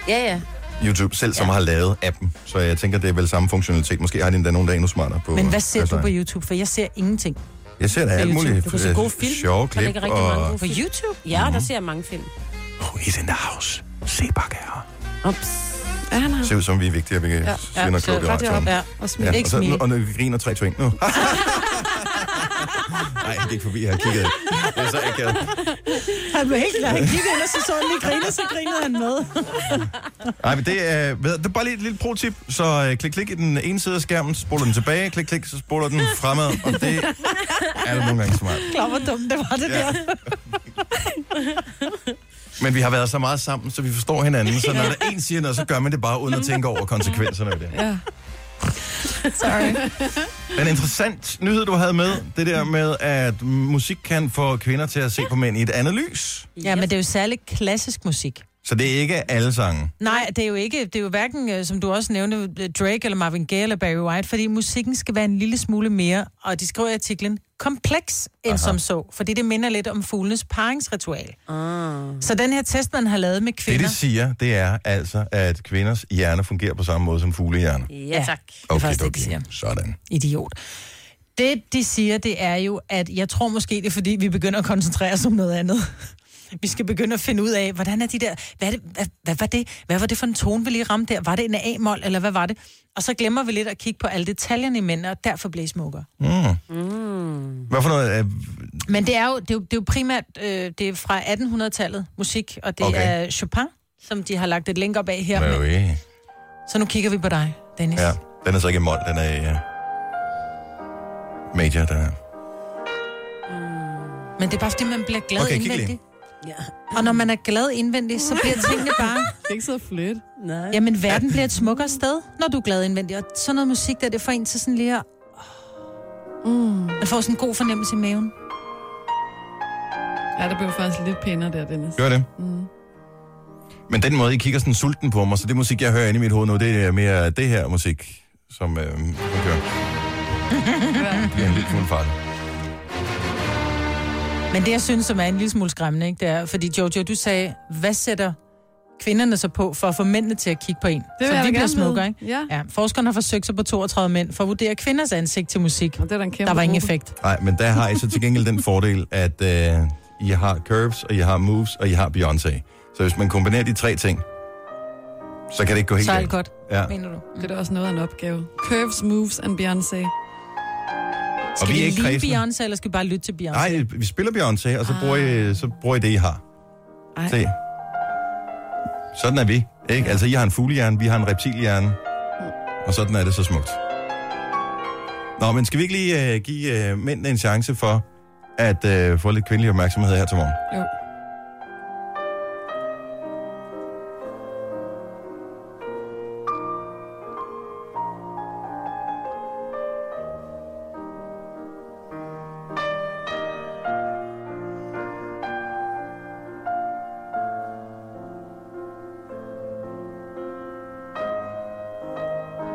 Ja, ja.
YouTube selv, som har lavet appen. Så jeg tænker, det er vel samme funktionalitet. Måske har de endda nogle der er endnu smartere på...
Men hvad ser
øh,
du på
design.
YouTube? For jeg ser ingenting.
Jeg ser da alt
YouTube?
muligt.
Du kan se
øh,
gode film.
Sjove
Der
klip
ligger rigtig mange
og... Mhm.
gode
På
film.
YouTube?
Ja, der ser jeg mange film.
Oh, he's in the house. Se bakke her.
Ups.
Er han her?
Se ud som, vi er vigtige, og vi kan ja. svinde og
så
kloge i
ret jer
radioen.
op.
Ja.
Og smil.
Ja,
Ikke
og, så,
smile.
nu, og nu griner 3, 2, 1 nu. Nej, det gik forbi, jeg har kigget. Det er så akavet.
Han blev helt klar. Han kiggede ind, og så så han lige grine, så grinede han med.
Nej, men det er, ved, det er bare lige et lille pro-tip. Så øh, klik, klik i den ene side af skærmen, så spoler den tilbage, klik, klik, så spoler den fremad, og det er det nogle gange smart.
Klar, hvor dumt det var det
Ja.
der.
Men vi har været så meget sammen, så vi forstår hinanden, så når der en siger noget, så gør man det bare uden at tænke over konsekvenserne af det.
Ja. Sorry.
Den interessant nyhed, du havde med, det der med, at musik kan få kvinder til at se på mænd i et andet lys.
Ja, men det er jo særligt klassisk musik.
Så det er ikke alle sange.
Nej, det er jo ikke, det er jo hverken, øh, som du også nævnte, øh, Drake eller Marvin Gaye eller Barry White, fordi musikken skal være en lille smule mere, og de skriver i artiklen, kompleks end Aha. som så, fordi det minder lidt om fuglenes paringsritual. Ah. Så den her test, man har lavet med
Det,
kvinder,
det siger, det er altså, at kvinders hjerne fungerer på samme måde som fuglehjerner.
Ja,
Ja.
tak.
er faktisk det, de siger.
Sådan.
idiot. Det, de siger, det er jo, at jeg tror måske, det er fordi, vi begynder at koncentrere os om noget andet. Vi skal begynde at finde ud af, hvordan er de der... Hvad, er det, hvad, hvad, var, det, hvad var det for en tone, vi lige ramte der? Var det en A-mol, eller hvad var det? Og så glemmer vi lidt at kigge på alle detaljerne i mændene, og derfor bliver I smukkere.
Hvad for noget? Øh,
Men det er jo, det er jo, det er jo primært øh, det er fra 1800-tallet musik, og det
Okay.
okay. er Chopin, som de har lagt et link op af her.
Mary.
Men, så nu kigger vi på dig, Dennis.
Ja,
Ja.
den er så ikke i mol, den er i, øh, major, den her.
Men det er bare, fordi man bliver glad
Okay,
okay,
kig lige.
indvendigt.
Ja.
Og når man er glad indvendigt, så bliver tingene bare...
Det er ikke så flit.
Nej.
Jamen, verden bliver et smukkere sted, når du er glad indvendigt. Og sådan noget musik, der det får en til sådan lige at... Mm. Man får sådan en god fornemmelse i maven.
Ja, der blev faktisk lidt pænere der, Dennis.
Gør det. Mm. Men den måde, I kigger sådan sulten på mig, så det musik, jeg hører inde i mit hoved nu, det er mere det her musik, som øh, jeg kører. Det er en lille smule farligt.
Men det, jeg synes, som er en lille smule skræmmende, ikke, det er, fordi Jojo, du sagde, hvad sætter kvinderne så på for at få mændene til at kigge på en?
vil
så
jeg
vi
da
bliver
gerne vide.
smukkere, ikke?
Ja.
ja. Forskerne har forsøgt sig på 32 mænd for at vurdere kvinders ansigt til musik.
Og det er da en kæmpe
Der var ingen
gruppe.
effekt.
Nej, men der har I så til gengæld den fordel, at øh, I har Curbs, og I har Moves, og I har Beyoncé. Så hvis man kombinerer de tre ting, så kan det ikke gå helt
Så er alt
galt.
godt,
Ja.
mener du?
Det er da også noget af en opgave. Curves, moves and Beyoncé.
Og vi er ikke
lide
kredsende.
Beyoncé, eller skal vi bare lytte til Beyoncé?
Nej, vi spiller Beyoncé, og så bruger, I, så bruger I det, I har.
Ah. Ej.
Se. Sådan er vi, ikke? Altså, I har en fuglehjerne, vi har en reptilhjerne. Og sådan er det så smukt. Nå, men skal vi ikke lige øh, give øh, mændene en chance for at øh, få lidt kvindelig opmærksomhed her til morgen?
Jo.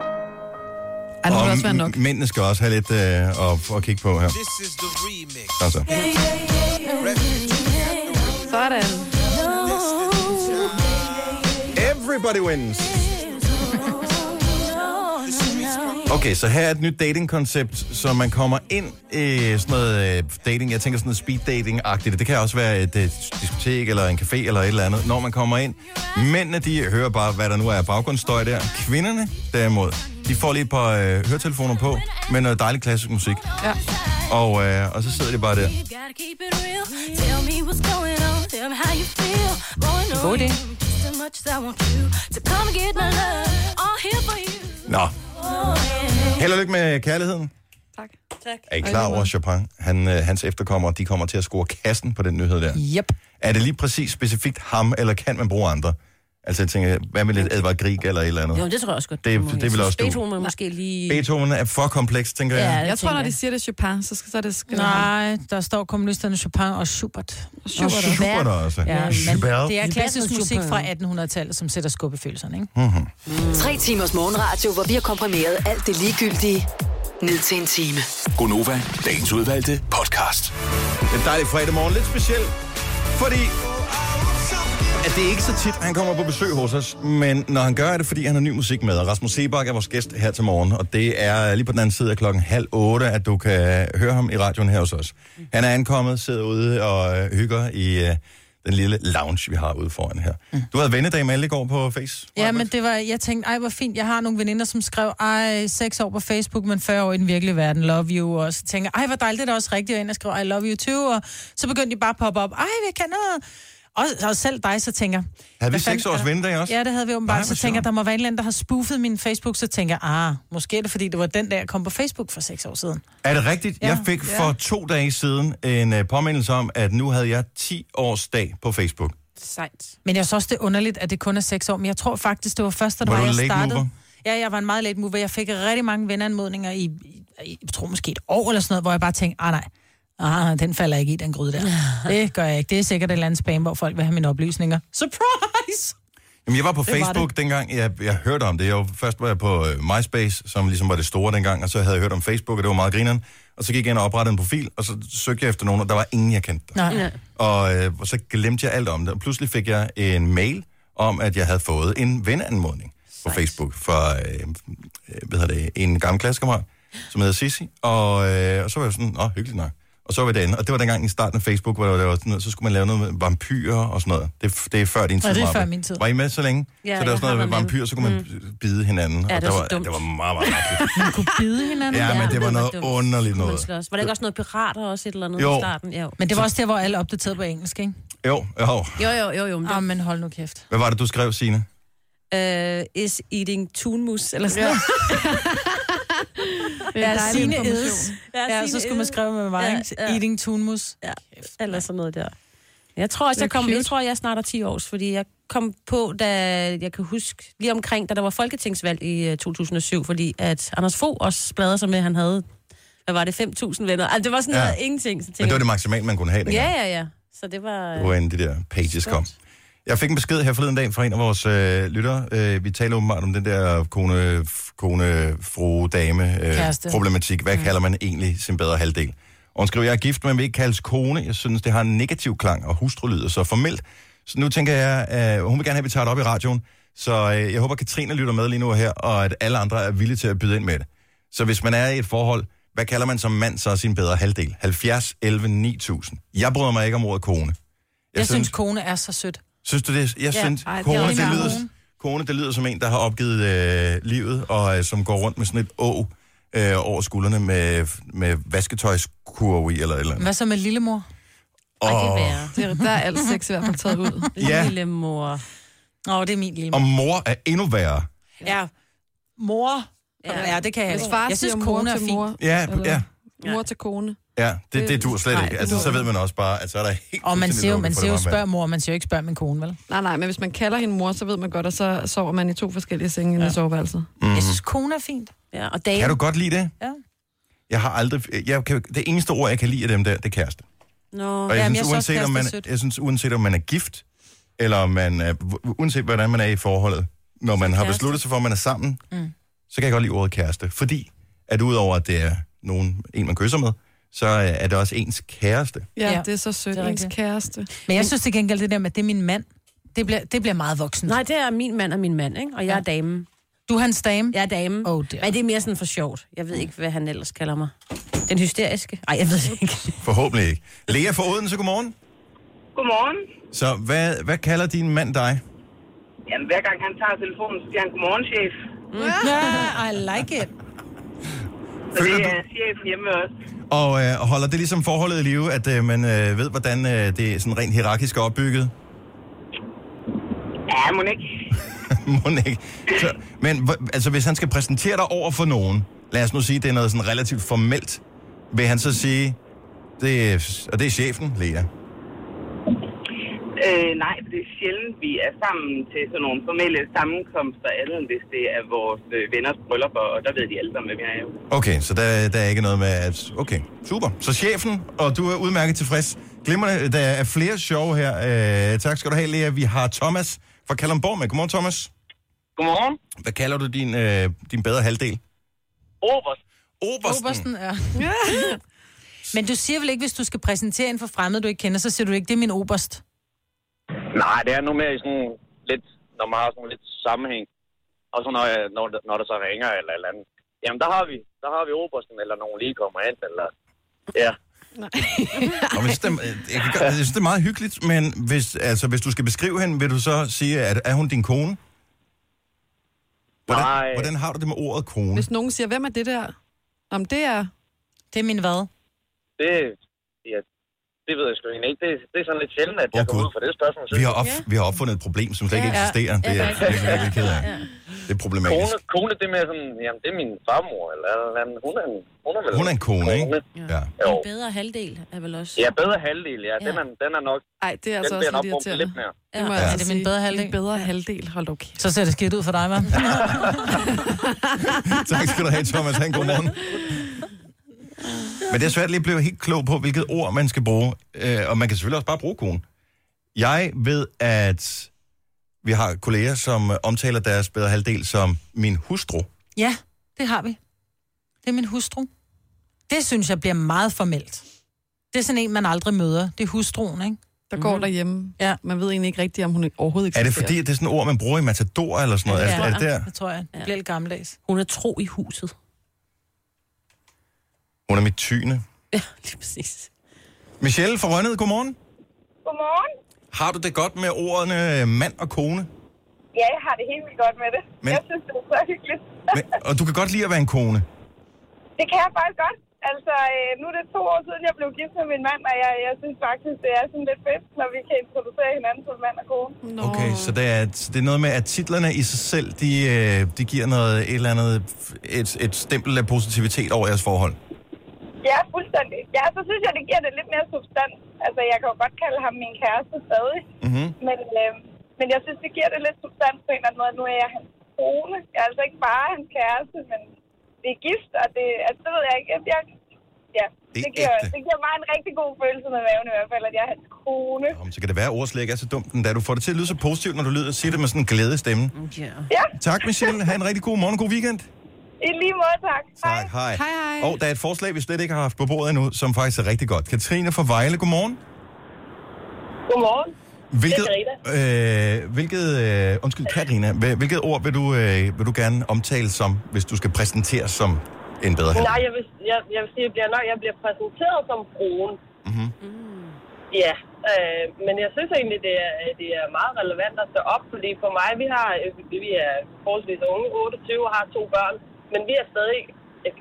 Ej, det må
Og
det også være
m-
nok.
mændene skal også have lidt øh, at, at kigge på her.
This is the remix.
Altså.
Sådan.
Everybody wins. Okay, så her er et nyt datingkoncept, så man kommer ind i sådan noget øh, dating, jeg tænker sådan noget speed dating-agtigt. Det kan også være et, øh, diskotek eller en café eller et eller andet, når man kommer ind. Mændene, de hører bare, hvad der nu er af baggrundsstøj der. Kvinderne, derimod, de får lige et par øh, høretelefoner på med noget dejlig klassisk musik.
Ja.
Og, øh, og så sidder de bare der.
God idé.
Nå, held og lykke med kærligheden.
Tak.
Er I klar over, at Chopin, han, øh, hans efterkommere, de kommer til at score kassen på den nyhed der?
Yep.
Er det lige præcis specifikt ham, eller kan man bruge andre? Altså, jeg tænker, hvad med lidt Edvard Grieg eller et eller andet?
Jo, det tror jeg også godt.
Det-
du må.
det vil
Jeg synes,
også du.
Beethoven må måske lige...
Beethoven er for kompleks, tænker jeg.
Jeg tror,
tænker
når de siger, det er Chopin, så, skal, så er det skal
Nej, der står kommunisterne Chopin og Schubert.
Og Schubert også.
Ja,
Schubert.
Det er klassisk
Schubert.
musik fra 1800-tallet, som sætter skub i følelserne,
Mm.
ikke?
Tre timers morgenradio, hvor vi har komprimeret alt det ligegyldige ned til en time.
Gonova, dagens udvalgte podcast.
En dejlig fredag morgen. Lidt speciel, fordi at det er ikke så tit, han kommer på besøg hos os, men når han gør, er det, fordi han har ny musik med. Og Rasmus Sebak er vores gæst her til morgen, og det er lige på den anden side af klokken halv otte, at du kan høre ham i radioen her hos os. Han er ankommet, sidder ude og øh, hygger i øh, den lille lounge, vi har ude foran her. Du havde vennedag med alle i går på Face.
Mm. Ja, men det var, jeg tænkte, ej, hvor fint. Jeg har nogle veninder, som skrev, ej, seks år på Facebook, men 40 år i den virkelige verden. Love you. Og så tænker jeg, ej, hvor dejligt, det er da også rigtigt. Og ind og skrev, I love you too. Og så begyndte de bare at poppe op. Ej, vi kan noget. Og, og selv dig, så tænker jeg,
Havde vi
hvad fanden
seks års
er der?
vennedag også?
Ja, det havde vi åbenbart.
Nej,
så
hvor
tænker
sjovt.
jeg, der må være en eller anden, der har spoofet min Facebook. Så tænker jeg, ah, måske er det, fordi det var den der, jeg kom på Facebook for seks år siden.
Er det rigtigt? Ja.
Ja.
Jeg fik for to dage siden en øh, påmindelse om, at nu havde jeg 10 års dag på Facebook.
Sejt.
Men jeg synes også, det er underligt, at det kun er seks år. Men jeg tror faktisk, det var først, da det
Var
var,
du
jeg
late
startede.
mover?
Ja, jeg var en meget late mover. Jeg fik rigtig mange venneanmodninger i, i, i jeg tror måske et år eller sådan noget, hvor jeg bare tænkte, ah nej, ah, den falder jeg ikke i, den gryde der. Det gør jeg ikke. Det er sikkert et eller andet spam, hvor folk vil have mine oplysninger. Surprise!
Jamen, jeg var på
var
Facebook dengang, jeg, jeg hørte om det. Jeg var, først var jeg på øh, MySpace, som ligesom var det store dengang, og så havde jeg hørt om Facebook, og det var meget grineren. Og så gik jeg ind og oprettede en profil, og så søgte jeg efter nogen, og der var ingen, jeg kendte.
Nej.
Ja.
Og, øh, og så glemte jeg alt om det. Og pludselig fik jeg en mail om, at jeg havde fået en venneanmodning på Facebook fra øh, øh, hvad hedder det, en gammel klassekammerat, som hedder Sissi. Og, øh, og så var jeg sådan, åh, hyggeligt nok. Og så var det andet. Og det var dengang i starten af Facebook, hvor der var sådan noget, så skulle man lave noget med vampyrer og sådan noget. Det, det er før din tid.
Ja, det er
Maja.
før min tid.
Var I med så længe?
Ja,
så der
jeg
var sådan noget
har
med
været med. Mm.
vampyrer, så kunne man bide hinanden. og
det
der
var så
var,
dumt.
det var meget, meget mærkeligt.
Man kunne bide hinanden.
Ja, men det var noget
dumt.
underligt
Kunne man
noget.
slås. Var der ikke også noget pirater også et eller andet
Jo.
i starten? Jo.
Men det var også der, hvor alle opdaterede på engelsk, ikke?
Jo, jo.
Jo, jo, jo, jo. Men
Ah,
det,
men hold nu kæft.
Hvad var det, du skrev, Signe?
uh, is eating tunmus, eller sådan noget.
Det er en
Ja,
dejlig
Signe
information.
Eds. Ja, så skulle man skrive med mig,
Ja,
Altså, ja,
ja.
ja. Eating tunmus.
Ja, eller sådan noget der. Jeg tror også, jeg kom, jeg tror, jeg snart er 10 års, fordi jeg kom på, da jeg kan huske, lige omkring, da der var folketingsvalg i øh, 2007, fordi at Anders Fogh også bladrede sig med, at han havde, hvad var det, 5.000 venner. Altså, det var sådan
Ja.
noget ingenting. Så tænkte
Men det var
jeg-
det maksimale, man øh, kunne have dengang.
Ja, ja, ja. Så det var...
Det var inden de der pages kom. Jeg fik en besked her forleden dag fra en af vores øh, lyttere. Øh, vi taler åbenbart om den der kone, f- kone fru, dame øh,
Kæreste.
problematik. Hvad kalder man egentlig sin bedre halvdel? Og hun skriver, jeg er gift, men vil ikke kaldes kone. Jeg synes, det har en negativ klang, og hustru lyder så formelt. Så nu tænker jeg, øh, hun vil gerne have, at vi tager det op i radioen. Så øh, jeg håber, Katrine lytter med lige nu her, og at alle andre er villige til at byde ind med det. Så hvis man er i et forhold, hvad kalder man som mand så sin bedre halvdel? 70, 11, 9000. Jeg bryder mig ikke om ordet kone.
Jeg, synes, kone er så sødt.
Synes du det? Jeg synes,
ej, det er
kone, det
rigtig
lyder,
meget.
kone, det lyder som en, der har opgivet øh, livet, og øh, som går rundt med sådan et å øh, over skuldrene med, med vasketøjskurve i, eller et eller andet.
Hvad så med lillemor?
Ej, det
Og,
være.
Det er, der er alt sex i hvert fald taget ud.
Ja.
Lille mor.
Åh, oh, det er min lillemor.
og mor er endnu værre.
Ja. Mor, Ja, ja det kan jeg
Hvis
ikke.
far
Jeg synes,
siger
kone
mor
er
til
fint.
mor,
Ja,
eller
ja.
mor til kone.
Ja, det, det
Det-
dur slet
nej,
ikke.
det
Altså,
dur
så ved
ikke.
man også bare, at så er der helt...
Og man
fuldstændig
siger jo,
lukket
man
for
siger jo
det varme
spørg mor, man siger jo ikke spørg min kone, vel?
Nej, nej, men hvis man kalder hende mor, så ved man godt, at så sover man i to forskellige senge ja. i soveværelset.
vand. Mhm.
Jeg synes, kone er fint.
Ja, og
Kan
dame.
du godt lide det?
Ja.
Jeg har aldrig... Jeg kan, det eneste ord, jeg kan lide af dem der, det er kæreste.
Nå,
Og jeg, synes,
Jamen, jeg synes også,
uanset, om man,
kæreste er sødt.
jeg synes, uanset om man er gift, eller om man er, u- uanset hvordan man er i forholdet, når man har
Kæreste.
besluttet sig for, at man er sammen, mm. så kan jeg godt lide ordet kæreste. Fordi, at udover at det er nogen, en, man kysser med, så øh, er det også ens kæreste.
Ja,
Ja,
ja, det er så sødt.
det er
Ens
rigtigt.
kæreste.
Men jeg synes til gengæld, det der med, at det er min mand, det bliver, det bliver meget voksen.
nej, det er min mand og min mand, ikke? Og jeg er damen.
Du er hans dame.
Jeg er damen.
Oh, dear.
Men det er mere sådan for sjovt. Jeg ved ikke, hvad han ellers kalder mig. Den hysteriske? Nej, jeg ved det ikke.
Forhåbentlig ikke. Lea fra Odense, godmorgen.
Godmorgen.
Så hvad, hvad kalder din mand dig?
Jamen, hver gang han tager telefonen, så siger han, godmorgen, chef.
Yeah, I like it.
Så
Føler
det
du-
er chef hjemme også.
Og øh, holder det ligesom forholdet i live, at øh, man øh, ved, hvordan øh, det er sådan rent hierarkisk er opbygget?
Ja, må ikke.
Må ikke. Så, men hvor- altså, hvis han skal præsentere dig over for nogen, lad os nu sige, det er noget sådan relativt formelt, vil han så sige, det er, og det er chefen, Lea.
Øh, nej, for det er sjældent, vi er sammen til sådan nogle formelle sammenkomster, andet end hvis det er vores øh, venners bryllupper, og der ved de alle sammen, hvem jeg er jo.
Okay, så der, der er ikke noget med, at... Okay, super. Så chefen, og du er udmærket tilfreds. Glimrende, der er flere sjove her. Øh, tak skal du have, Lea. Vi har Thomas fra Kalundborg med. Godmorgen, Thomas.
Godmorgen.
Hvad kalder du din, øh, din bedre halvdel?
Oberst.
Obersten.
Obersten, ja. Men du siger vel ikke, hvis du skal præsentere en for fremmede, du ikke kender, så siger du ikke, det er min oberst.
Nej, det er nu mere i sådan lidt, når man har sådan lidt sammenhæng. Og så når, jeg, når, når der så ringer eller et eller andet. Jamen, der har vi, der har vi obersten, eller nogen lige kommer ind, eller... Ja.
Og hvis det, øh, jeg, kan, godt- jeg synes, det er meget hyggeligt, men hvis, altså, hvis du skal beskrive hende, vil du så sige, at er hun din kone? Hvordan,
Nej.
hvordan har du det med ordet kone?
Hvis nogen siger, hvem er det der? Om det er...
Det er min hvad?
Det, ja, det ved jeg sgu egentlig ikke. Det, det er sådan lidt sjældent, at jeg
Åh,
oh, kommer
Gud.
ud for det spørgsmål.
Vi
synes
har,
jeg.
op, vi har opfundet et problem, som slet ikke eksisterer. Det er jeg virkelig, virkelig ked af. Det er problematisk.
Kone, kone, det er mere sådan, jamen, det er min farmor, eller, et eller andet. Hun er en, hun er, vel
Hun er en kone, ikke? Ja.
Jo.
En bedre halvdel er vel også...
Ja, bedre halvdel, ja. Den,
Ja.
er, den er nok,
Nej, det
den
er altså også
bliver nok
lidt
brugt
irriterende.
lidt mere.
Det må
Ja.
jeg
Er
altså
det min
sige.
bedre halvdel?
Min bedre halvdel, hold okay.
Så ser det skidt ud for dig, hva'?
Tak skal du have, Thomas. Han, godmorgen. Men det er svært lige at blive helt klog på, hvilket ord man skal bruge. Øh, og man kan selvfølgelig også bare bruge kone. Jeg ved, at vi har kolleger, som øh, omtaler deres bedre halvdel som min hustru.
Ja, det har vi. Det er min hustru. Det synes jeg bliver meget formelt. Det er sådan en, man aldrig møder. Det er hustruen, ikke?
Der går derhjemme.
Mhm. Ja.
Man ved egentlig ikke rigtigt, om hun overhovedet
Er
eksisterer.
det fordi, at det er sådan et ord, man bruger i Matador eller sådan noget? Er,
Ja.
det- er det der?
Det tror jeg. Det bliver lidt gammeldags.
Hun er tro i huset.
Hun er mit tyne.
Ja, lige præcis.
Michelle fra Rønnede, godmorgen.
Godmorgen.
Har du det godt med ordene øh, mand og kone?
Ja, jeg har det helt vildt godt med det.
Men-
Jeg synes, det er så hyggeligt.
Men, og du kan godt lide at være en kone.
det kan jeg faktisk godt. Altså, øh, nu er det to år siden, jeg blev gift med min mand, og jeg, jeg synes faktisk, det er sådan lidt fedt, når vi kan introducere hinanden som mand og kone.
Nå.
Okay, så det er, så det er noget med, at titlerne i sig selv, de, øh, de giver noget, et eller andet, et, et stempel af positivitet over jeres forhold.
Ja, fuldstændig. Ja, så synes jeg, det giver det lidt mere substans. Altså, jeg kan jo godt kalde ham min kæreste stadig,
Mm-hmm.
men, øh, men jeg synes, det giver det lidt substans på en eller anden måde. Nu er jeg hans kone. Jeg er altså ikke bare hans kæreste, men det er gift, og det, altså, det ved jeg ikke. Jeg, ja,
Det er
det, giver,
ægte.
det giver mig en rigtig god følelse med maven i hvert fald, at jeg er hans kone.
Om, så kan det være, at ordet slet ikke er så dumt, da du får det til at lyde så positivt, når du lyder, siger det med sådan en glæde i stemmen.
Mm,
Ja.
Ja,
Tak, Michelle. Ha' en rigtig god morgen og god weekend.
i lige måde, tak.
Tak, hej.
Hej, hej.
Og der er et forslag, vi slet ikke har haft på bordet endnu, som faktisk er rigtig godt. Katrine fra Vejle, godmorgen.
Godmorgen.
Hvilket, øh, hvilket øh, undskyld, Katrina, hvil- hvilket ord vil du, øh, vil du gerne omtale som, hvis du skal præsenteres som en bedre halvdel?
Nej, jeg vil, jeg, jeg vil sige, jeg bliver, nok, jeg bliver præsenteret som broen.
Mhm.
Ja, øh, men jeg synes egentlig, det er, det er meget relevant at stå op, fordi for mig, vi, har, øh, vi er forholdsvis unge, 28 og har to børn, men vi er stadig øh,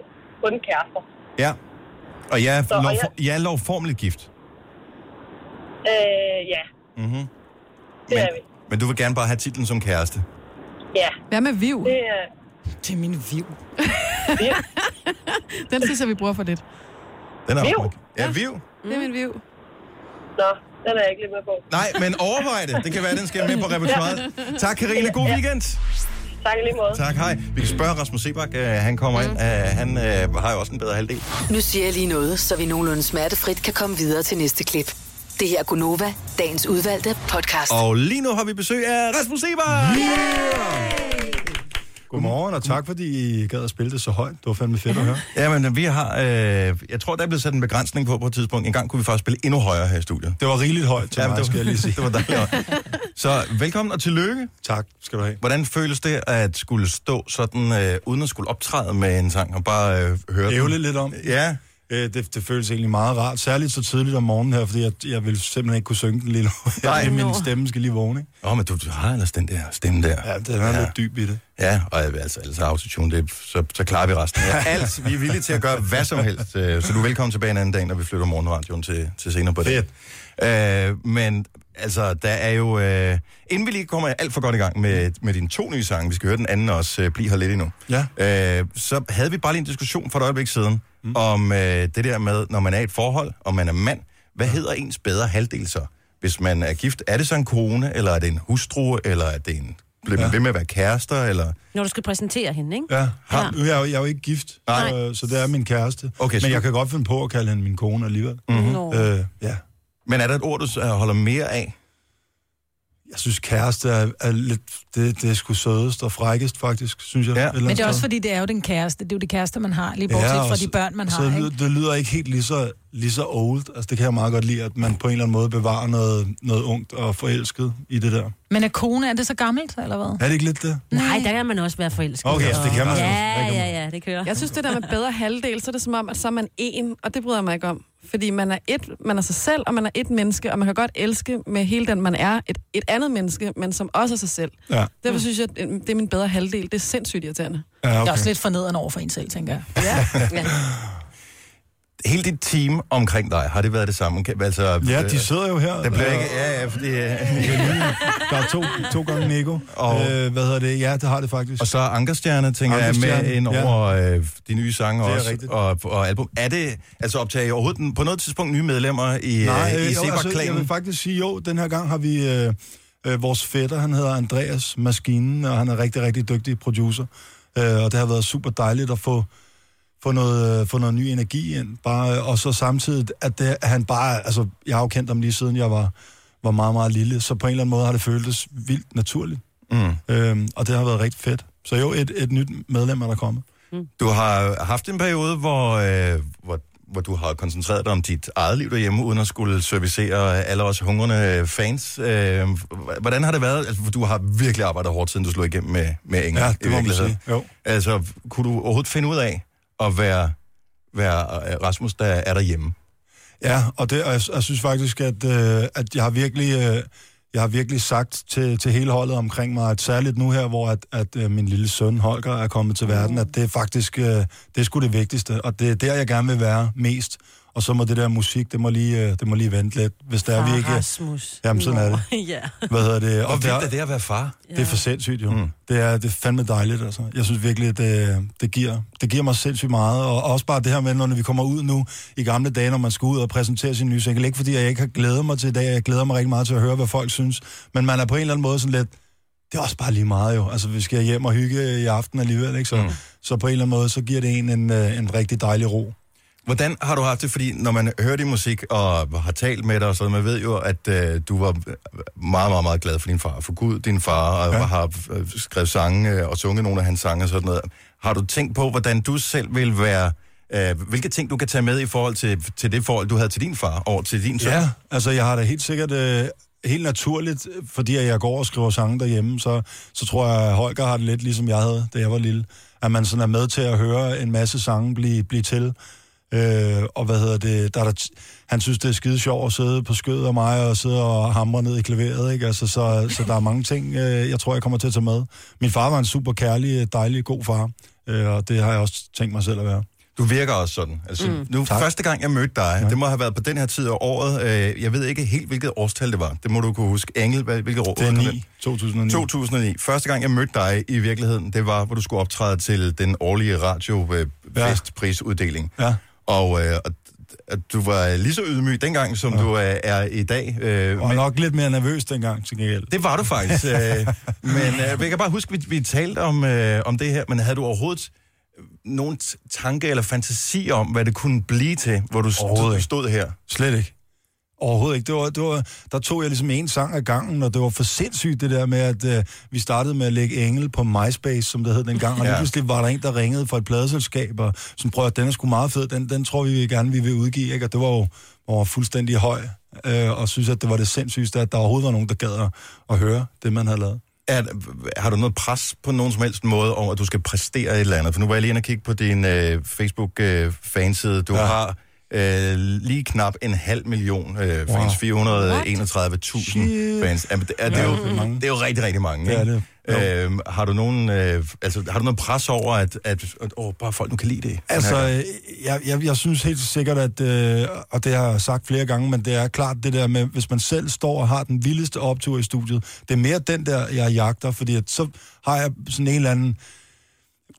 kun kærester.
Ja. Og jeg er,
Så- og
lov,
jeg-
jeg er lovformeligt gift.
Øh, ja,
Mm-hmm.
det
Men-
er vi.
Men du vil gerne bare have titlen som kæreste.
Ja,
Hvad med Viv?
det er...
Det er min viv.
Den synes jeg, vi bruger for lidt.
Den er
Viv?
opmærk. Ja, viv.
Det
Mhm.
er min viv.
Nå, den er jeg ikke lige med på.
Nej, men overvej det. Det kan være, den skal med på repertoireet. Tak, Karine. God weekend.
Tak i lige måde.
Tak, hej. Vi kan spørge Rasmus Sebak. øh, Han kommer
Mm.
ind. Øh, Han øh, har jo også en bedre halvdel.
Nu siger jeg lige noget, så vi nogenlunde smertefrit kan komme videre til næste klip. Det her er Gunova, dagens udvalgte podcast.
Og lige nu har vi besøg af Rasmus Sebak.
Godmorgen, og tak fordi I gad at spille det så højt. Det var fandme fedt at høre.
Jamen, vi har... Øh, jeg tror, der er blevet sat en begrænsning på på et tidspunkt. En gang kunne vi faktisk spille endnu højere her i studiet.
Det var rigeligt højt til ja, mig,
det,
skal jeg lige sige.
det var dejligt. Så velkommen og tillykke.
Tak skal du have.
Hvordan føles det at skulle stå sådan, øh, uden at skulle optræde med en sang, og bare øh, høre
Ævle
den?
lidt om.
Ja,
Øh, det, det føles egentlig meget rart, særligt så tidligt om morgenen her, fordi jeg, jeg vil simpelthen ikke kunne synge den lige nu.
Nej.
Nej. Min stemme skal lige vågne, ikke?
Åh, oh, men du, du har ellers den der stemme der.
Ja, den er ja. lidt dyb i det.
Ja, og altså, altså autotune, det, så, så klarer vi resten. Ja, alt, vi er villige til at gøre hvad som helst. øh, Så du er velkommen tilbage en anden dag, når vi flytter morgenradioen til, til senere på dagen. Øh, men altså, der er jo... Øh, inden vi lige kommer alt for godt i gang med, med dine to nye sange, vi skal høre den anden også, øh, bliv her lidt endnu.
Ja.
Øh, så havde vi bare lige en diskussion for et øjeblik siden, mm. om øh, det der med, når man er i et forhold, og man er mand, hvad hedder ens bedre halvdel så? Hvis man er gift, er det så en kone, eller er det en hustru, eller er det en... Bliver man
Ja.
ved med at være kærester, eller...
Når du skal præsentere hende, ikke?
Ja,
Ja.
ham, nu er jeg, jo- jeg er jo ikke gift,
Nej.
Så, Øh, så det er min kæreste.
Okay, så-
Men jeg kan godt finde på at kalde hende min kone alligevel. Mm-hmm.
Nå.
Øh, ja.
Men er der et ord, du øh, holder mere af?
Jeg synes, kæreste Altså, er, er lidt... Det, det er sgu sødest og frækkest, faktisk, synes jeg.
Ja.
et eller
Men
andet
det er også
sted.
fordi, det er jo den kæreste. Det er jo det kæreste, man har, lige bortset ja,
og
fra
så-
de børn, man
så
har.
lyder,
Ikke?
det lyder ikke helt lige så, lige så old. Altså, det kan jeg meget godt lide, at man på en eller anden måde bevarer noget, noget ungt og forelsket i det der.
Men er kone, er det så gammelt, eller hvad?
Er det ikke lidt det?
Nej, der kan man også være forelsket.
Okay, altså, det kan man.
Ja,
Det kan man.
ja, ja, det kører.
Jeg synes, det der med bedre halvdel, så er det som om, at så er man en, og det bryder jeg mig ikke om. Fordi man er, et, man er sig selv, og man er et menneske, og man kan godt elske med hele den, man er, et, et andet menneske, men som også er sig selv.
Ja,
Derfor synes jeg, at øh, det er min bedre halvdel. Det er sindssygt irriterende.
ja
Det er
okay.
også lidt fornedrende over for en selv, tænker jeg.
Hele dit team omkring dig, har det været det samme? Kan- Altså,
Ja,
øh,
de sidder jo her.
Der bliver ikke... Ja, ja, fordi... øh,
Der er to, to gange Nico.
Og-
Og... Øh, hvad hedder det? Ja, det har det faktisk.
Og så Ankerstjerne, tænker jeg, med
Ankerstjerne,
ind
ja.
over øh, de nye sange
Det er
også,
rigtigt.
og, og album. Er det, altså optager I overhovedet den- på noget tidspunkt nye medlemmer i, Nej, øh, i
jo, altså, jeg vil
Sebak-klanen?
faktisk sige, jo, den her gang har vi... Øh, øh, vores fætter, han hedder Andreas Maskinen, og han er rigtig, rigtig dygtig producer. Øh, og det har været super dejligt at få, få, noget, øh, få noget ny energi ind. Bare, øh, og så samtidig, at det, at han bare... Altså, jeg har jo kendt ham lige siden jeg var, var meget, meget lille, så på en eller anden måde har det føltes vildt naturligt. Mm. Øh, og det har været rigtig fedt. Så jo, et, et nyt medlem er der kommet.
Du har haft en periode, hvor, øh, hvor, hvor du har koncentreret dig om dit eget liv derhjemme, uden at skulle servicere alle os hungrende øh, fans. Øh, hvordan har det været? Altså, for du har virkelig arbejdet hårdt, siden du slog igennem med, med Inger.
Ja,
i
det må man
virkeligheden.
sige. Jo.
Altså, kunne du overhovedet finde ud af at være, være øh, Rasmus, der er derhjemme?
Ja, og, det, og jeg, jeg synes faktisk, at, øh, at jeg har virkelig... Øh, jeg har virkelig sagt til, til hele holdet omkring mig, at særligt nu her, hvor at, at øh, min lille søn Holger er kommet til verden, at det er faktisk, øh, det er sgu det vigtigste, og det er der, jeg gerne vil være mest. Og så må det der musik, det må lige, øh, det må lige vente lidt, hvis der er vi ikke...
Rasmus.
Jamen, sådan er det.
ja.
Hvad hedder det?
Hvor
Og
vildt er
der,
det at være far?
det er for sindssygt jo. Mm. Det, er, det er fandme dejligt, altså. Jeg synes virkelig, det, det, giver, det giver mig sindssygt meget. Og også bare det her med, når vi kommer ud nu i gamle dage, når man skal ud og præsentere sin nye single. Ikke fordi jeg ikke har glædet mig til i dag, jeg glæder mig rigtig meget til at høre, hvad folk synes. Men man er på en eller anden måde sådan lidt, det er også bare lige meget jo. Altså, vi skal hjem og hygge i aften alligevel, ikke? Så, mm. så på en eller anden måde, så giver det en en, øh, en rigtig dejlig ro.
Hvordan har du haft det? Fordi når man hører din musik og har talt med dig, og så man ved jo, at øh, du var meget, meget, meget glad for din far, for Gud, din far, og ja.
Ja.
har øh, skrevet sange øh, og sunget nogle af hans sange og sådan noget. Har du tænkt på, hvordan du selv vil være, øh, hvilke ting du kan tage med i forhold til, til det forhold, du havde til din far og til din søn?
Ja, altså jeg har da helt sikkert, øh, helt naturligt, øh, fordi at jeg går og skriver sange derhjemme, så, så tror jeg, at Holger har det lidt ligesom jeg havde, da jeg var lille. At man sådan er med til at høre en masse sange blive, blive til. Øh, og hvad hedder det, der er der t- han synes, det er skide sjovt at sidde på skødet af mig og sidde og hamre ned i klaveret, ikke? Altså, så, så der er mange ting, øh, jeg tror, jeg kommer til at tage med. Min far var en super kærlig, dejlig, god far, øh, og det har jeg også tænkt mig selv at være.
Du virker også sådan. Altså, mm.
Mm.
nu tak. første gang, jeg mødte dig, ja. det må have været på den her tid af året. Øh, jeg ved ikke helt, hvilket årstal det var. Det må du kunne huske. Engel, hvad- hvilket år?
Det er
var
9, 2009.
2009. Første gang, jeg mødte dig i virkeligheden, det var, hvor du skulle optræde til den årlige radiofestprisuddeling.
Ja.
Og, øh, og at du var lige så ydmyg dengang, som ja. du er, er i dag. Øh,
Og nok lidt mere nervøs dengang, til gengæld.
det var du faktisk. øh, men øh, jeg kan bare huske, at vi, vi talte om, øh, om det her, men havde du overhovedet øh, nogen t- tanke eller fantasi om, hvad det kunne blive til, hvor du
Overhovedet
stod, stod
ikke.
her?
Slet ikke. Overhovedet ikke. Det var, det var, der tog jeg ligesom en sang ad gangen, og det var for sindssygt det der med, at øh, vi startede med at lægge engel på MySpace, som det hed dengang, og ja.
Ja.
lige pludselig var der en, der ringede fra et pladeselskab, og sådan, prøv at den er sgu meget fed, den, den tror vi gerne, vi vil udgive, ikke? og det var jo man var fuldstændig høj, øh, og synes, at det var det sindssygeste, at der overhovedet var nogen, der gad at, at høre det, man havde lavet.
At, har du noget pres på nogen som helst måde over, at du skal præstere et eller andet? For nu var jeg lige inde og kigge på din øh, Facebook-fanside. du ja. har øh, lige knap en halv million øh, fans. Wow. 431.000 fans. Jamen, det, er, det, er jo, det er jo rigtig, rigtig mange.
Ja,
ikke?
det
Øhm, har, du nogen, øh, altså, har du noget pres over, at, at, at åh, bare folk nu kan lide det?
Altså,
Den her gang?
øh, jeg, jeg, jeg synes helt sikkert, at, øh, og det har jeg sagt flere gange, men det er klart det der med, hvis man selv står og har den vildeste optur i studiet, det er mere den der, jeg jagter, fordi at, så har jeg sådan en eller anden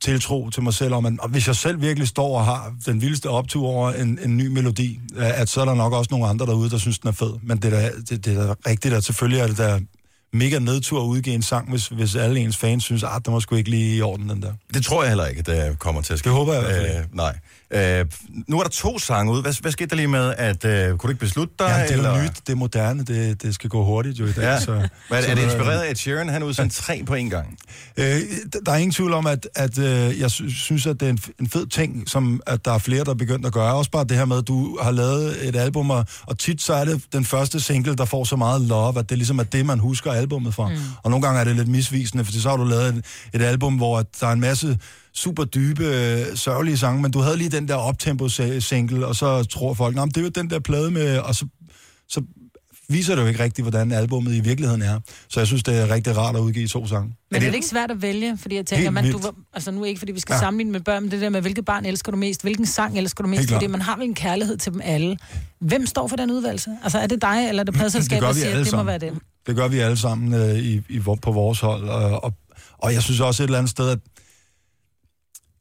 tiltro til mig selv om, at og hvis jeg selv virkelig står og har den vildeste optur over en, en ny melodi, øh, at så er der nok også nogle andre derude, der synes, den er fed. Men det er da, det, det er da rigtigt, at selvfølgelig er det da mega nedtur at udgive en sang, hvis, hvis alle ens fans synes, at den var sgu ikke lige i orden, den der.
Det tror jeg heller ikke, det kommer til at ske.
Det håber jeg i hvert fald
øh, Nej. Øh, nu er der to sange ude. Hvad, hvad skete der lige med, at øh, kunne du ikke beslutte dig?
Ja, det er
eller?
jo nyt, det er moderne, det, det skal gå hurtigt jo i dag.
Ja.
Så,
Hvad,
så,
er det
øh,
inspireret af Ed Sheeran? Han udsendte tre på en gang.
Øh, d- der er ingen tvivl om, at, at øh, jeg sy- synes, at det er en, f- en fed ting, som at der er flere, der er begyndt at gøre. Også bare det her med, at du har lavet et album, og, og tit så er det den første single, der får så meget love, at det ligesom er det, man husker albummet fra. Mm. Og nogle gange er det lidt misvisende, for så har du lavet et, et album, hvor at der er en masse super dybe, øh, sørgelige sange, men du havde lige den der optempo-single, og så tror folk, at det er jo den der plade med, og så, så viser det jo ikke rigtigt, hvordan albummet i virkeligheden er. Så jeg synes, det er rigtig rart at udgive to sange.
Men er det, er det ikke svært at vælge? Fordi jeg tænker,
Helt
man, du,
vildt.
var- altså nu ikke, fordi vi skal
Ja.
ja. sammenligne med børn, men det der med, hvilket barn elsker du mest, hvilken sang elsker du mest,
Helt klart.
fordi man har vel en kærlighed til dem alle. Hvem står for den udvalgelse? Altså er det dig, eller er det pladselskabet,
gør
der
vi
siger, at
alle
det må
sammen.
være den?
Det gør vi alle sammen øh, i, i, vor- på vores hold. Og, og, og jeg synes også et eller andet sted, at,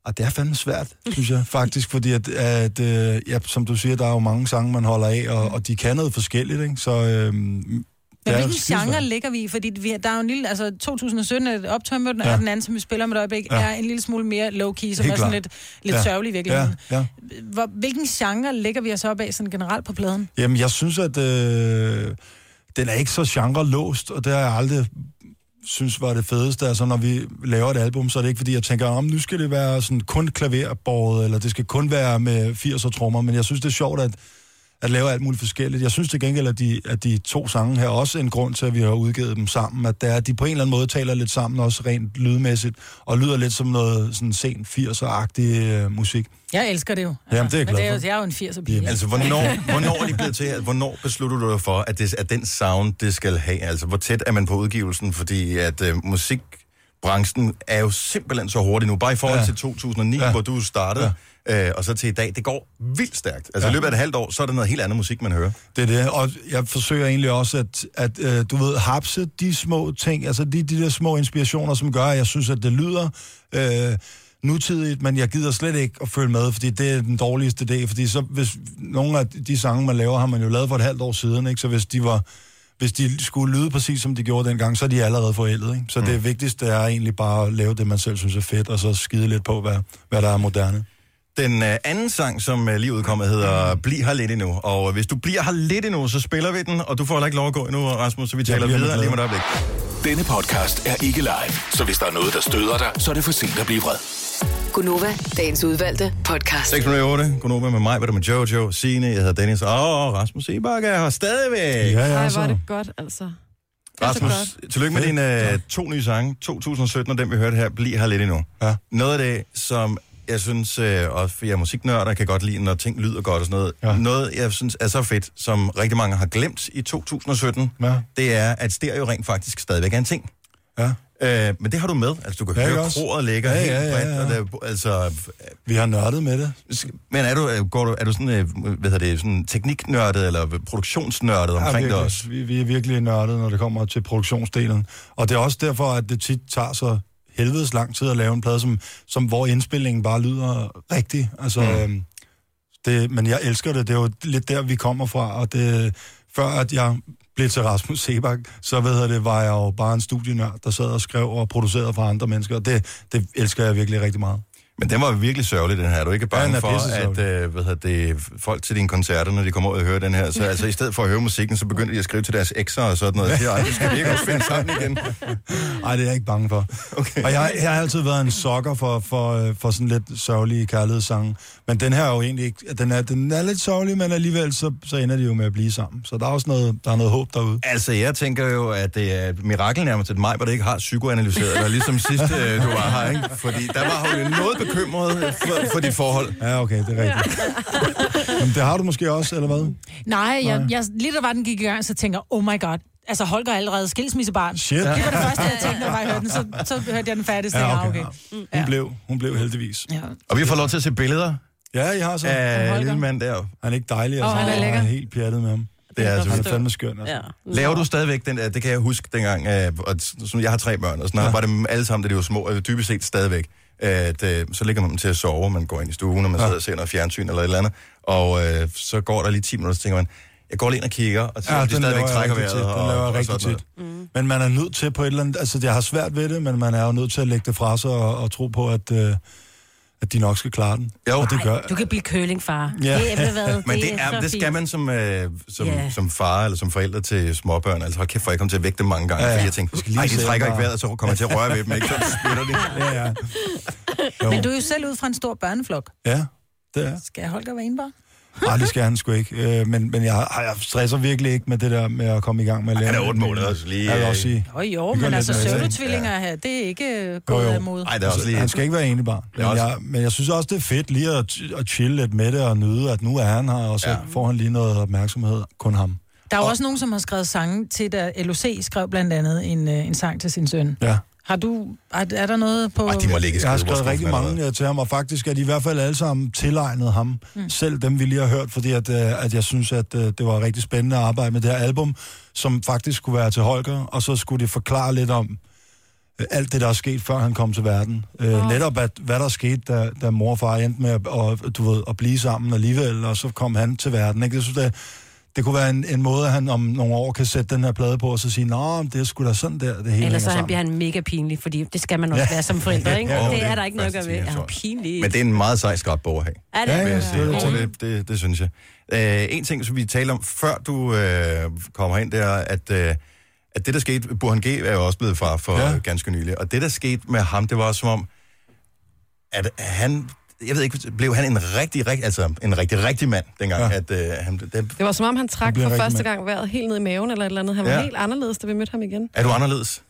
at det er fandme svært, synes jeg faktisk. Fordi at, at øh, ja, som du siger, der er jo mange sange, man holder af, og, og de kan noget forskelligt. Ikke? Så, øh, men
Men hvilken genre ligger vi i? Fordi vi, der er jo en lille, altså 2017 er et optøj med den,
Ja.
ja. og den anden, som vi spiller med et øjeblik,
Ja.
ja. er en lille smule mere low-key, som er sådan lidt, lidt ja. sørgelig i virkeligheden.
Ja, ja.
Ja. Hvor, hvilken genre ligger vi os op af sådan generelt på pladen?
Jamen, jeg synes, at øh, den er ikke så genre-låst, og det har jeg aldrig synes var det fedeste. Altså, når vi laver et album, så er det ikke, fordi jeg tænker, om nu skal det være sådan kun klaverbåret, eller det skal kun være med 80'er trommer, men jeg synes, det er sjovt at, at lave alt muligt forskelligt. Jeg synes til gengæld, at de, at de to sange her også er en grund til, at vi har udgivet dem sammen, at der, de på en eller anden måde taler lidt sammen, også rent lydmæssigt, og lyder lidt som noget sådan sen 80'er-agtig øh, musik.
Jeg elsker det jo.
Jamen, det er
Altså,
jeg
men
glad
det er jo,
for.
jeg er jo en 80'er pige. ikke?
Altså, hvornår, hvornår er de blevet til? Altså, Hvornår beslutter du dig for, at, det, at den sound, det skal have? Altså, hvor tæt er man på udgivelsen? Fordi at øh, musikbranchen er jo simpelthen så hurtig nu. Bare i forhold
Ja.
ja. til 2009, ja. hvor du startede, ja. øh, og så til i dag. Det går vildt stærkt. Altså, ja.
Ja.
i løbet af et halvt år, så er det noget helt andet musik, man hører.
Det er det, og jeg forsøger egentlig også at, at øh, du ved, hapse de små ting, altså de, de der små inspirationer, som gør, at jeg synes, at det lyder øh, nutidigt, men jeg gider slet ikke at følge med, fordi det er den dårligste idé, fordi så hvis nogle af de sange, man laver, har man jo lavet for et halvt år siden, ikke? så hvis de var hvis de skulle lyde præcis, som de gjorde dengang, så er de allerede forældet. Ikke? Så mm. det vigtigste er egentlig bare at lave det, man selv synes er fedt, og så skide lidt på, hvad, hvad der er moderne.
Den øh, anden sang, som øh, lige udkommet, hedder Bliv her lidt endnu. Og øh, hvis du bliver her lidt endnu, så spiller vi den, og du får heller ikke lov at gå endnu, Rasmus, så vi taler
bliver
videre
glad.
lige om et øjeblik.
Denne podcast er ikke live, så hvis der er noget, der støder dig, så er det for sent at blive vred.
Gunova, dagens udvalgte podcast.
608, Konoba med mig, hvad der med Jojo, Signe, jeg hedder Dennis, og Rasmus Ebakke er her stadigvæk.
Ej, hvor er det godt, altså. er så
Rasmus, tillykke med dine øh, to nye sange, 2017 og den vi hørte her, Bliv her lidt endnu.
Ja.
Noget af det, som jeg synes, øh, og for jeg er musiknørd, og kan godt lide, når ting lyder godt og sådan noget, ja. noget jeg synes er så fedt, som rigtig mange har glemt i 2017,
Ja.
det er, at stereo rent faktisk stadigvæk er en ting.
Ja.
Øh, men det har du med. Altså, du kan
Ja,
ja,
ikke
høre,
også?
kroret ligger
Ja,
helt
ja, ja,
bredt.
ja.
Og der, altså,
Vi har nørdet med det.
Men er du, øh, går du, er du sådan, øh, hvad hedder det, sådan tekniknørdet eller produktionsnørdet omkring ja, det
virkelig.
også?
Vi, vi er virkelig nørdet, når det kommer til produktionsdelen. Og det er også derfor, at det tit tager så helvedes lang tid at lave en plade, som, som hvor indspillingen bare lyder rigtig. Altså,
Mm.
mm. øhm, det, men jeg elsker det. Det er jo lidt der, vi kommer fra. Og det, før at jeg blev til Rasmus Sebak, så ved jeg, det var jeg jo bare en studienørd, der sad og skrev og producerede for andre mennesker. Og det, det elsker jeg virkelig rigtig meget.
Men den var virkelig sørgelig, den her. Er du ikke
Ja, den
bange
er
for, at
pissesørgelig.
øh, hvad hedder det, folk til dine koncerter, når de kommer ud og hører den her, så altså, i stedet for at høre musikken, så begynder de at skrive til deres ekser og sådan noget. Her, det skal vi ikke også finde sammen igen.
Nej, det er jeg ikke bange for. Okay. Og jeg, jeg har altid været en sokker for, for, øh, for sådan lidt sørgelige kærlighedssange. Men den her er jo egentlig ikke... Den er, den er lidt sørgelig, men alligevel så, så ender de jo med at blive sammen. Så der er også noget, der er noget håb derude.
Altså, jeg tænker jo, at det er et mirakel nærmest, at mig, hvor det ikke har psykoanalyseret dig, ligesom sidste øh, du var her, ikke? Fordi der var hun jo noget bekymret øh, for, for dit forhold.
Ja, okay, det er rigtigt. Jamen, det har du måske også, eller hvad?
Nej, jeg,
Nej.
jeg, lige da var den gik i gang, så tænker jeg, oh my god, altså Holger er allerede skilsmissebarn.
Shit.
Det var det første, jeg tænkte, når jeg hørte den, så, så hørte jeg den færdig, så
Ja,
ja,
okay.
okay.
Hun, blev, hun blev heldigvis.
Ja.
Og vi får lov til at se billeder
Ja, jeg har så.
af lille mand der.
Han er ikke dejlig, altså.
Åh, han er lækker.
Jeg er helt pjattet med ham.
Det er altså
Han er
vildt.
fandme skøn, altså.
Ja.
Laver du stadigvæk den der, det kan jeg huske dengang, øh, og sådan, jeg har tre børn, og sådan noget, ja. var dem alle sammen, da de var små, øh, dybest set stadigvæk, at øh, så ligger man dem til at sove, og man går ind i stuen, og man ja. sidder og ser noget fjernsyn eller et eller andet, og øh, så går der lige 10 minutter, så tænker man, jeg går lige ind og kigger, og så ja, de
den laver
stadigvæk
jeg
trækker
rigtig
vejret.
tit. Den
og-
laver jeg
og
rigtig
sådan noget.
tit.
Mm.
Men man er nødt til på et eller andet... Altså, jeg har svært ved det, men man er jo nødt til at lægge det fra sig og, og tro på, at, øh, at de nok skal klare den.
Jo.
og det gør...
Du kan blive kølingfar.
Ja.
Det, er, hvad,
Men det, er,
så
det skal
fint.
man som, øh, som,
Ja.
yeah. som far eller som forældre til småbørn. Altså, hold kæft, for jeg kom til at vække dem mange gange,
Ja,
ja,
ja.
fordi jeg
Du skal
tænkte,
lige
nej,
se
de
dem
trækker
bare."
ikke vejret, og så kommer jeg til at røre ved dem, ikke? Så spytter de.
Ja, ja. Jo.
Men du er jo selv ud fra en stor børneflok.
Ja, det er.
Skal Holger være enebarn?
Nej, det skal han sgu ikke. Øh, men men jeg, har- jeg stresser virkelig ikke med det der med at komme i gang med at lave...
Han er otte måneder, så lige,
Jeg vil også
øh,
sige...
Åh jo,
gør
men
lidt
altså
noget, ikke?
søvnetvillinger ja. her, det er ikke øh, gået
jo.
af mod.
Nej, det er også lige...
Altså, Han skal ikke være enig barn. Men
er også-
jeg, men jeg synes også, det er fedt lige at, at chille lidt med det og nyde, at nu er han her, og så
Ja.
ja. får han lige noget opmærksomhed. Kun ham.
Der er jo også nogen, som har skrevet sange til, da LOC skrev blandt andet en, øh, en sang til sin søn.
Ja.
Har du, er, er der noget på...
Ej, de må ligge i
Jeg har
skrivebordsskuffen
skrevet rigtig
allerede.
mange øh, til ham, og faktisk er de i hvert fald alle sammen tilegnet ham. Mm. Selv dem, vi lige har hørt, fordi at, øh, at jeg synes, at øh, det var rigtig spændende at arbejde med det her album, som faktisk skulle være til Holger, og så skulle det forklare lidt om øh, alt det, der er sket, før han kom til verden. Øh, netop, at, hvad der skete, da, da mor og far endte med at, og, du ved, at blive sammen alligevel, og så kom han til verden. Ikke? Jeg synes, det, det kunne være en, en måde, at han om nogle år kan sætte den her plade på, og så sige, nå, det er sgu da sådan der, det hele
Ellers så
hænger
han
sammen.
bliver han mega pinlig, fordi det skal man også
Ja.
være som forældre, ikke?
Ja, jo,
det
det
er
er
der ikke noget at gøre ved.
første
Er han
teenageår.
pinlig?
Men det er en meget sej skrabog at have.
er det?
Ja,
vil
ja.
jeg sige.
det er
Og øh, det, det, det synes jeg. Øh, en ting, som vi talte om, før du øh, kommer ind, det er, at, øh, at det, der skete... Burhan G. er jo også blevet far for ja.
Ja.
ganske nylig. Og det, der skete med ham, det var som om, at han... Jeg ved ikke, blev han en rigtig, rigtig, altså en rigtig, rigtig mand dengang, ja.
Ja.
at øh, han... Det,
Det var som om, han
Han
trak
bliver
for
rigtig
første
mand.
gang vejret helt ned i maven eller et eller andet. Han var
Ja.
ja. helt anderledes, da vi mødte ham igen.
er du anderledes?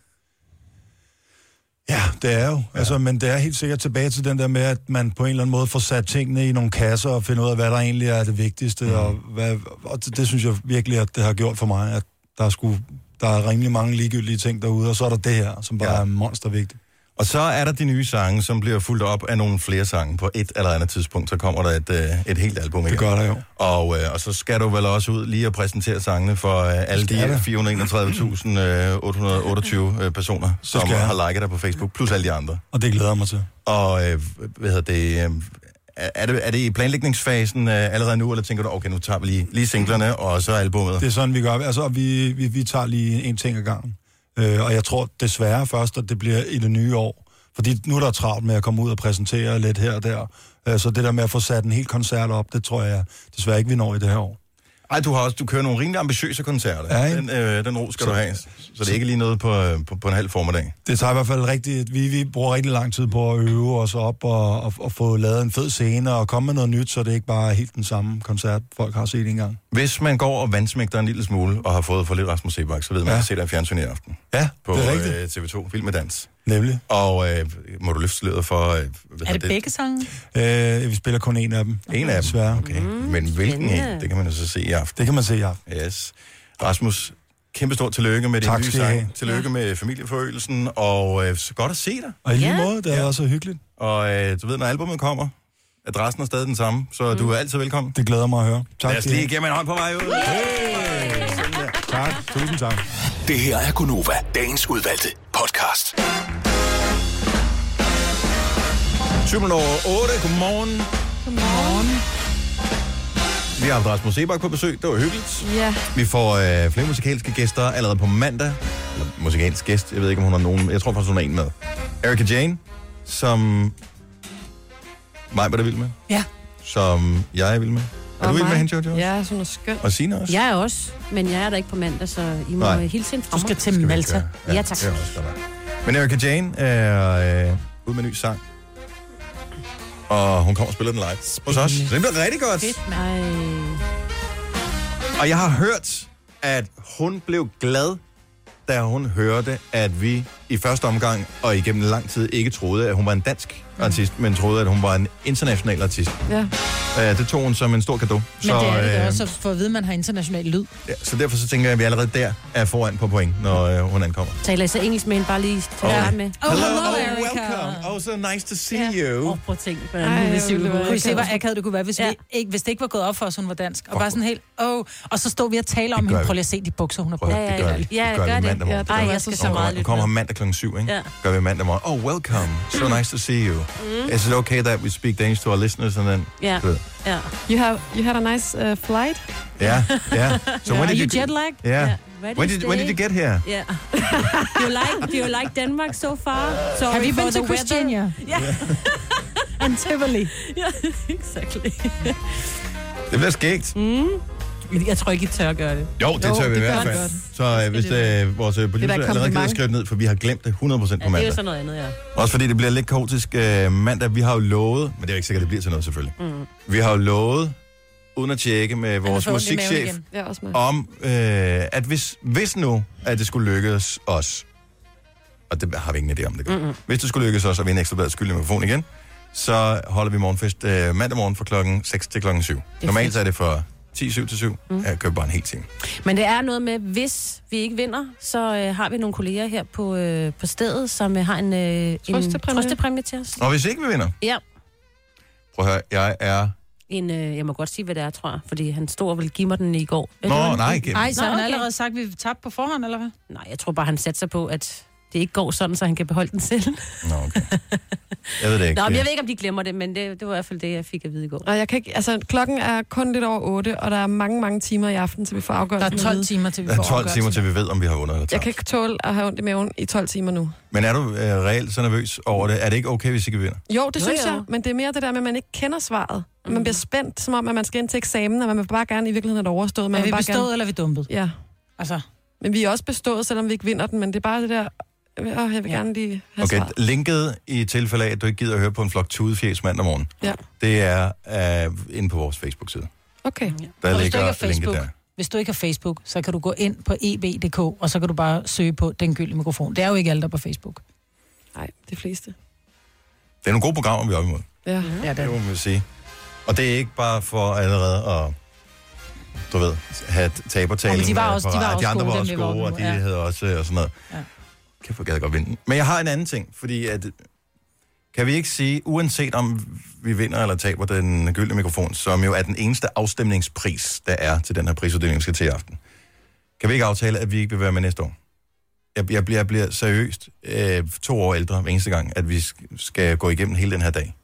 Ja, det er jo. Ja. Altså, men det er helt sikkert tilbage til den der med, at man på en eller anden måde får sat tingene i nogle kasser og finder ud af, hvad der egentlig er det vigtigste. Mm. Og, hvad, og det, det synes jeg virkelig, at det har gjort for mig, at der er, sgu, der er rimelig mange ligegyldige ting derude, og så er der det her, som bare
Ja.
ja. er monstervigtigt.
Og så er der de nye sange, som bliver fuldt op af nogle flere sange. På et eller andet tidspunkt, så kommer der et, øh, et helt album
Det
igen.
gør der jo.
Og, øh, og så skal du vel også ud lige og præsentere sangene for øh, alle de
Skal jeg
øh, 431.828 øh, personer, som
skal jeg.
har liket dig på Facebook, plus alle de andre.
Og det glæder jeg mig til.
Og øh, hvad hedder det, øh, er det, er det i planlægningsfasen øh, allerede nu, eller tænker du, okay, nu tager vi lige, lige singlerne, og så albumet?
Det er sådan, vi gør. Altså, og vi, vi, vi tager lige en ting ad gangen. Øh, og jeg tror desværre først, at det bliver i det nye år. Fordi nu er der travlt med at komme ud og præsentere lidt her og der. Øh, så det der med at få sat en hel koncert op, det tror jeg desværre ikke, vi når i det her år.
Ej, du har også, du kører nogle rimelig ambitiøse koncerter.
Ja, ikke?
den, øh, den ro skal så, du have, så, det er ikke lige noget på, øh, på, på en halv formiddag.
Det tager i hvert fald rigtig... Vi, vi bruger rigtig lang tid på at øve os op og, og, og få lavet en fed scene og komme med noget nyt, så det ikke bare er helt den samme koncert, folk har set en gang.
Hvis man går og vandsmægter en lille smule, og har fået for lidt Rasmus Sebak, så ved man, ja.
Ja.
at se dig i fjernsyn i aften.
Ja,
På
det er rigtigt.
øh, TV2, Vild med Dans.
Nemlig.
Og øh, må du løfte sløret for... Øh, hvad
Er det
hedder
begge sange?
Øh, vi spiller kun en af dem.
En af dem?
Desværre.
Okay. Mm, Men hvilken en?
spændende.
Det kan man jo så se i aften.
Det kan man se i aften.
Yes. Rasmus, Kæmpe stort tillykke med din
Tak
nye
skal I have.
sang. Tillykke med familieforøgelsen, og øh, så godt at se dig.
Og i lige måde, det har været så hyggeligt.
Og øh, du ved, når albumet kommer, adressen er stadig den samme, så mm. du er altid velkommen.
Det glæder mig at høre. Tak
Lad os
skal I
lige
have.
give mig en hånd på vej ud.
Tak. Tusind tak.
Det her er Gunova, dagens udvalgte podcast.
20 minutter over 8. Godmorgen.
Godmorgen.
Vi har haft Rasmus Sebak på besøg. Det var hyggeligt.
Ja.
Vi får øh, flere musikalske gæster allerede på mandag. Eller musikalsk gæst. Jeg ved ikke, om hun har nogen. Jeg tror faktisk, hun har en med. Erika Jane, som mig var det vild med.
Ja.
Som jeg er vild med. Er du vild med hende, Jojo?
Ja, hun er skøn.
Og Signe også?
Jeg er også, men jeg er der ikke på mandag, så I må
Nej.
Nej. hilse hende fra
Du
mig.
skal til Malta.
altså. Ja, ja tak.
Det er også godt nok. Men Erika Jane er øh, ude med en ny sang. Og hun kommer og spiller den live hos os. Så det bliver rigtig godt.
Fedt, mand.
Ej.
Og jeg har hørt, at hun blev glad, da hun hørte, at vi i første omgang og igennem lang tid ikke troede, at hun var en dansk
Mm.
artist, men troede, at hun var en international artist.
Ja.
Øh, det tog hun som en stor gave. øh,
Men det er det da også at få at vide, at man har international lyd.
ja, så derfor så tænker jeg, at vi allerede der er foran på point, når øh, hun ankommer.
Taler I så engelsk med hende bare lige til
Ja.
at starte med?
Oh, hello,
oh,
Erica. Oh,
welcome. Oh, so nice to see you.
Åh, prøv at tænke, hvordan
Ej,
hun vil
hvor
sige
ville det være
Kunne I se, hvor
det.
akavet Øh, det kunne være, hvis, ja.
Ja.
vi ikke, hvis det ikke var gået op for os, hun var dansk? Og bare sådan helt, åh. Oh. Og så stod vi og talte om
Det gør
hende.
vi.
Prøv lige at se de bukser, hun har på.
Prøv at
Ja,
høre,
ja,
det gør
ja.
vi.
Ja,
det gør
gør
vi
det.
mandag morgen.
Ja, det
gør
gør
vi.
Ej,
være
jeg
så
skal så
Hun
meget
kommer, hun
lytte
kommer her
med.
mandag kl. 7, ikke?
Ja.
Gør vi mandag morgen. Oh, welcome. So nice to see you.
Mm.
Is it okay that we speak Danish to our listeners? And then,
Ja,
Du ved.
ja.
You, have, you had a nice uh, flight.
yeah, yeah. So when
Are
did
you
you...
jetlagged?
Yeah.
Hvad er
When
det
did, when did you
sted?
get here?
Ja. Do you like, do you like Denmark so far? Sorry
Have you
for
been
the
to Christiania?
Ja.
And Tivoli.
Weather. Ja, exactly.
Det bliver skægt.
Jeg tror ikke, I tør gøre det.
Jo, det tør vi i
det
hvert
gør
fald.
han
Så øh, hvis øh, vores øh, producer allerede gider
kompliment.
skrive det ned, for vi har glemt det 100% på
Ja, det er
mandag.
jo sådan noget andet, ja.
Også fordi det bliver lidt kaotisk øh, mandag. Vi har jo lovet, men det er jo ikke sikkert, det bliver til noget selvfølgelig. Mm. Vi har jo lovet, uden at tjekke med vores
får ondt i maven
musikchef,
igen.
Ja, også mig.
om, øh, at hvis, hvis nu, at det skulle lykkes os, og det har vi ingen idé om, det gør. Mm-hmm. Hvis det skulle lykkes os at vinde ekstra bladet skyldig mikrofon igen, så holder vi morgenfest øh, mandag morgen fra klokken 6 til klokken 7. Normalt så er det fra 10, 7 til 7. Mm. Jeg køber bare en hel time.
Men det er noget med, hvis vi ikke vinder, så øh, har vi nogle kolleger her på, øh, på stedet, som øh, har en, øh,
Trøstepræmie.
en trøstepræmie til os.
Og hvis ikke vi vinder,
Ja,
prøv at høre, jeg er...
en, øh, jeg må godt sige, hvad det er, tror jeg, fordi han stod og ville give mig den i går. Ved du,
Nå,
hvad?
nej, ikke.
Ej, så
Nå,
har han
okay.
allerede sagt, at vi tabte på forhånd, eller hvad?
Nej, jeg tror bare, han satte sig på, at det ikke går sådan, så han kan beholde den selv.
Nå, okay. Jeg ved det ikke.
Nå, men jeg ved ikke, om de glemmer det, men det, det var i hvert fald det, jeg fik at vide i går.
Og jeg kan ikke, altså, klokken er kun lidt over 8, og der er mange, mange timer i aften, til vi får afgjort
Der er
det.
12 timer, til vi
Der er
får
12 timer,
afgørelsen.
til vi ved, om vi har vundet eller
Jeg
tabt.
kan ikke tåle at have ondt i maven i 12 timer nu.
Men er du øh, reelt så nervøs over det? Er det ikke okay, hvis ikke vi vinder?
Jo, det
Jo,
synes
jo.
jeg, men det er mere det der med, at man ikke kender svaret. Mm. Man bliver spændt, som om, at man skal ind til eksamen, og man vil bare gerne i virkeligheden have det overstået. Man
Er vi
vil bare
bestået, eller er vi dumpet?
Gerne... Ja,
Altså,
men vi er også bestået, selvom vi ikke vinder den, men det er bare det der, åh, jeg vil
Ja.
gerne lige have okay.
Okay,
svaret.
linket i tilfælde af, at du ikke gider at høre på en flok tudefjæs mandag morgen,
Ja.
det er øh, inde på vores Facebook-side.
Okay.
Der
Og hvis du
ligger
ikke har
linket
Facebook,
der.
hvis du ikke har Facebook, så kan du gå ind på E eb.dk, og så kan du bare søge på Den Gyldne Mikrofon. Det er jo ikke alle, der er på Facebook.
Nej, de fleste.
Det er nogle gode programmer, vi er op imod.
Ja.
Ja, det
Det må man jo sige. Og det er ikke bare for allerede at du ved, have tabertalen.
Ja, men de var
øh,
også-
på
de var
rad.
også
de andre var
gode, dem
også
vi var
gode,
oppe
og
imod,
de
ja.
havde også øh, og sådan noget. Ja.
Ja.
Kæft, hvor gad jeg godt vinde. Men jeg har en anden ting, fordi at, kan vi ikke sige, uanset om vi vinder eller taber den gyldne mikrofon, som jo er den eneste afstemningspris, der er til den her prisuddeling, vi skal til i aften, kan vi ikke aftale, at vi ikke vil være med næste år? Jeg, jeg, bliver, jeg bliver seriøst øh, to år ældre hver eneste gang, at vi sk- skal gå igennem hele den her dag.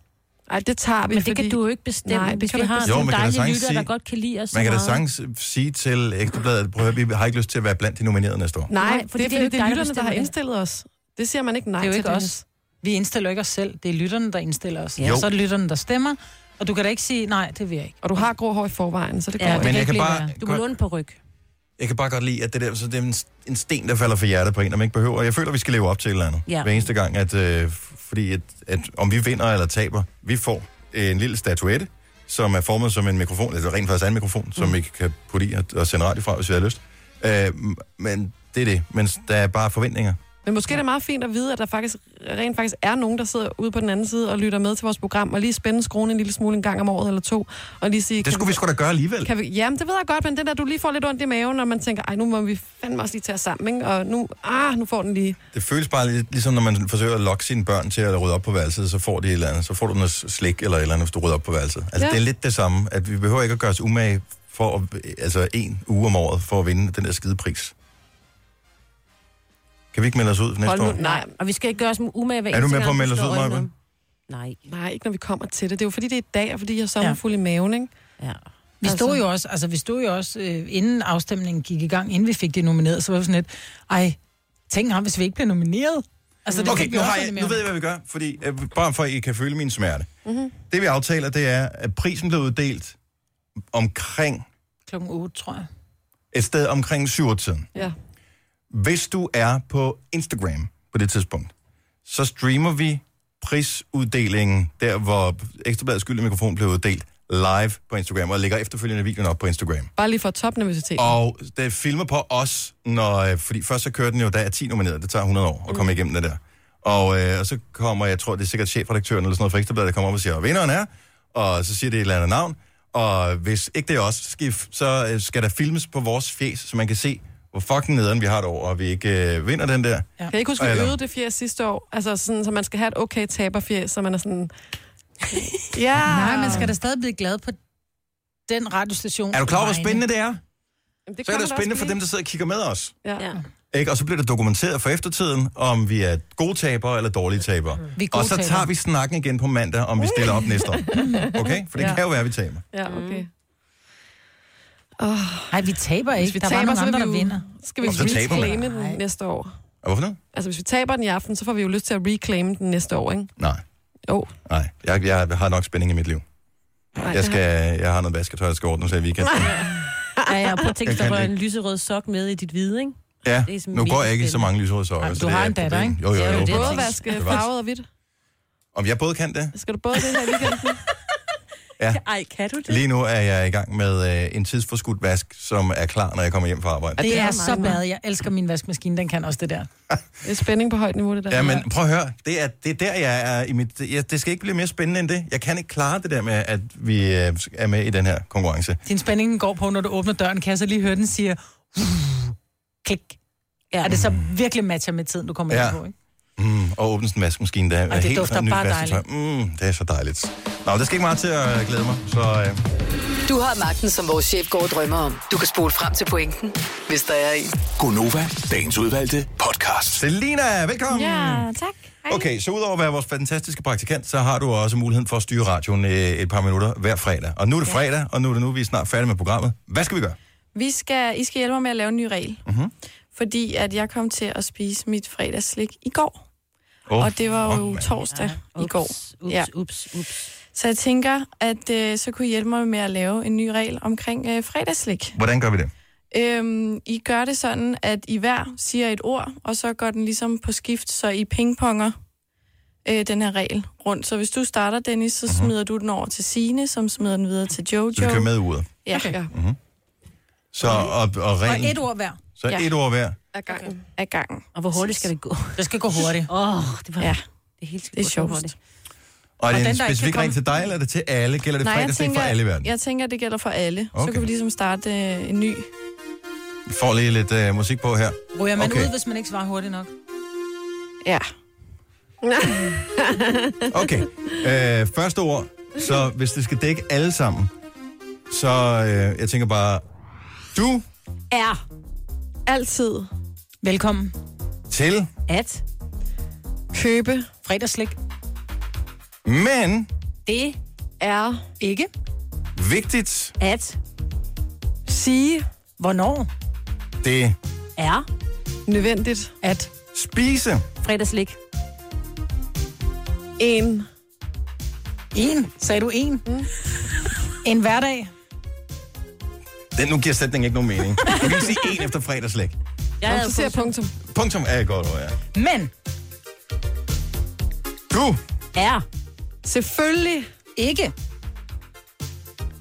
Ej, det tager vi,
Men det
fordi...
kan du jo ikke bestemme,
Nej,
Nej,
det
hvis
kan
vi
du ikke
har
bestemme.
Jo,
nogle
man kan da
dejlige
sagtens
lyttere, der
sige-
godt kan lide os
Man kan da
så meget.
sagtens sige til Ekstrabladet, prøv at høre, vi har ikke lyst til at være blandt de nominerede næste år.
Nej,
Nej,
Nej
fordi
fordi det,
det
er,
er jo
fordi
ikke
det
dig,
er lytterne,
der
der har
bestemmer
indstillet
det.
os. Det siger man ikke nej
Det er jo
til,
ikke
Dennis.
os. Vi indstiller jo ikke os selv. Det er lytterne, der indstiller os.
Jo.
Ja. Så er det lytterne, der stemmer. Og du kan da ikke sige, nej, det vil jeg ikke.
Og du har grå hår i forvejen, så det går
Ja,
ikke.
Men
det kan
jeg
ikke
kan,
blive
bare,
Du må
godt,
låne på ryg.
jeg kan bare godt lide, at det, der, så det er en, en sten, der falder for hjertet på en, og man ikke behøver. Jeg føler, at vi skal leve op til et eller andet.
Ja.
Hver eneste gang, at, øh, f- fordi at, at, om vi vinder eller taber, vi får en lille statuette, som er formet som en mikrofon, altså rent faktisk er en mikrofon,
Mm.
som vi kan putte i og, og sende radio fra, hvis vi har lyst. Øh, m- men det er det. Men s- der er bare forventninger
Men måske er det meget fint at vide, at der faktisk, rent faktisk er nogen, der sidder ude på den anden side og lytter med til vores program, og lige spænde skruen en lille smule en gang om året eller to, og lige sige...
Det skulle vi sgu da gøre alligevel.
Kan vi, jamen, det ved jeg godt, men det der, du lige får lidt ondt i maven, når man tænker, ej, nu må vi fandme også lige tage os sammen, ikke? Og nu, ah, nu får den lige...
Det føles bare lidt ligesom, når man forsøger at lokke sine børn til at rydde op på værelset, så får de et eller andet. Så får du noget slik eller et eller andet, hvis du rydder op på værelset. Altså,
Ja.
ja. det er lidt det samme, at vi behøver ikke at gøre os umage for at, altså en uge om året for at vinde den der skide pris. Kan vi ikke melde os ud næste år?
Hold nu, nej, og vi skal ikke gøre os umage hver
Er du
eneste
med på
gang,
at melde
vi
os
slår
ud,
øjnene
Maja?
om. Nej.
Nej, ikke når vi kommer til det. Det er jo fordi, det er i dag, og fordi jeg er sommerfuld ja. i maven, ikke?
Ja.
Vi stod jo også, altså vi stod jo også, øh, inden afstemningen gik i gang, inden vi fik det nomineret, så var det sådan lidt, ej, tænk ham, hvis vi ikke bliver nomineret. Altså,
okay,
fik vi
nu,
også
har
ondt i
jeg, nu
maven.
ved jeg, hvad vi gør, fordi, øh, bare for at I kan føle min smerte.
Mhm.
Det vi aftaler, det er, at prisen blev uddelt omkring,
Klokken 8, tror jeg.
et sted omkring 7 tiden.
Ja.
Hvis du er på Instagram på det tidspunkt, så streamer vi prisuddelingen, der hvor Ekstrabladets gyldne mikrofon blev uddelt, live på Instagram, og lægger efterfølgende videoen op på Instagram.
Bare lige for topnervøsitet.
Og det filmer på os, når, øh, fordi først så kører den jo, der er 10 nominerede, det tager 100 år at komme igennem det der. Og, øh, og så kommer, jeg tror, det er sikkert chefredaktøren eller sådan noget fra Ekstrabladet, der kommer op og siger, vinderen er, og så siger det et eller andet navn. Og hvis ikke det er os, så skal, I f- så øh, skal der filmes på vores fjes, så man kan se, hvor fucking nederen vi har det over, og vi ikke øh, vinder den der.
Ja. Kan I ikke huske, at vi
Eller-
øvede det fjerde sidste år? Altså sådan, så man skal have et okay taberfjæs, så man er sådan... ja.
Nej, man skal da stadig blive glad på den radiostation.
Ah. Er du klar over, hvor spændende det er?
Jamen,
så er det jo spændende for dem, der sidder og kigger med os.
Ja.
ja.
Ikke? Og så bliver det dokumenteret for eftertiden, om vi er gode tabere eller dårlige tabere.
Mm. Vi er gode
og så tager
tabere.
vi snakken igen på mandag, om vi stiller op næste år. Okay? For det
Ja.
ja. kan jo være, at vi taber.
Ja, okay.
Nej, vi taber ikke.
Hvis vi
der
taber,
er bare
så
nogle
vil
andre,
vi
der
jo-
vinder.
Så skal vi
Og så taber man.
reclaime den næste år.
Og hvorfor det?
Altså, hvis vi taber den i aften, så får vi jo lyst til at reclaime den næste år, ikke?
Nej.
Jo.
Nej, jeg, jeg har nok spænding i mit liv.
Nej,
Jeg, skal, jeg har noget vasketøj, jeg skal ordne, så i weekenden.
Ja, ja, prøv at tænke,
Jeg
hvis der
kan
rører en
ikke.
lyserød sok med i dit hvide, ikke?
Ja,
Det er sådan
nu går
mega
jeg ikke i så mange lyserøde
Ej,
sokker.
men
så
du
det
har
er
en
et
datter,
problem.
ikke?
Jo, jo,
Det er
jo.
jo det, jeg
Både
bevares.
vaske
Bevares.
farvet og hvidt.
Om jeg både kan det?
Skal du både det her i weekenden?
Ja.
Ej, kan du det?
Lige nu er jeg i gang med øh, en tidsforskudt vask, som er klar, når jeg kommer hjem fra arbejde.
Det, det er,
er
så
meget
bad. Jeg elsker min vaskemaskine, den kan også det der.
Det er spænding på højt niveau, det der.
Ja, men prøv at høre, det er, det er der, jeg er i mit... Jeg, det skal ikke blive mere spændende end det. Jeg kan ikke klare det der med, at vi øh, er med i den her konkurrence.
Din spænding går på, når du åbner døren, kan jeg så lige høre den siger, klik. Ja. Er det så virkelig matcher med tiden, du kommer ja.
Ja.
ind på, ikke?
Mm, og åbne sådan en vaskemaskine, der er
det
helt
dufter
nyt
bare
vasketøj. Mm, det er så dejligt. Nå, der skal ikke meget til at glæde mig, så... Øh,
Du har magten, som vores chef går og drømmer om. Du kan spole frem til pointen, hvis der er en.
Gonova, dagens udvalgte podcast.
Selina, velkommen!
Ja, tak. Hej.
Okay, så udover at være vores fantastiske praktikant, så har du også muligheden for at styre radioen øh, et par minutter hver fredag. Og nu er det fredag, og nu er det nu, vi er snart færdige med programmet. Hvad skal vi gøre?
Vi skal, I skal hjælpe mig med at lave en ny regel.
Mhm.
Fordi at jeg kom til at spise mit fredagsslik i går.
Åh,
og det var
åh,
jo
mand.
torsdag i går. Ups, ja.
ups, ups.
Så jeg tænker, at øh, så kunne I hjælpe mig med at lave en ny regel omkring øh, fredagsslik.
Hvordan gør vi det?
Øhm, I gør det sådan, at I hver siger et ord, og så går den ligesom på skift, så I pingponger øh, den her regel rundt. Så hvis du starter, Dennis, så smider du den over til Sine, som smider den videre til Jojo.
Mhm. Så vi kører med uret.
Ja. Okay.
Så, og, og, ren,
Og et ord hver.
Så
Ja.
et ord hver.
Ad gangen.
Ad gangen.
Og hvor hurtigt skal det gå?
Det skal gå hurtigt.
Åh, oh,
Ah.
det var...
Ja.
Det er helt
Det er sjovest.
hurtigt.
Og er
Og
det
den,
en
der ikke
specifik
kan
ring til dig, eller er det til alle? Gælder det fredagsslik for alle i verden?
jeg tænker, det gælder for alle. Okay. Så
Okay.
kan vi ligesom starte øh, en ny.
Vi får lige lidt øh, musik på her.
Ryger man
Okay.
okay. ud, hvis man ikke svarer hurtigt nok?
Ja.
Okay, øh, første ord. Så hvis det skal dække alle sammen, så øh, jeg tænker bare, du
Er
Altid.
Velkommen.
til,
at
Købe.
Fredagslik.
men
det
Er.
Ikke.
vigtigt,
at
Sige
Hvornår?
det
er
nødvendigt.
At.
spise.
fredagslik.
En.
En. Sagde du en? Mm. En hverdag.
Den, nu giver sætningen ikke nogen mening. Du kan ikke sige en efter fredagsslik.
Jeg
Nå,
havde
så siger jeg
fået-
punktum.
Punktum er et godt ord, ja.
Men.
Du,
er
Selvfølgelig,
Ikke.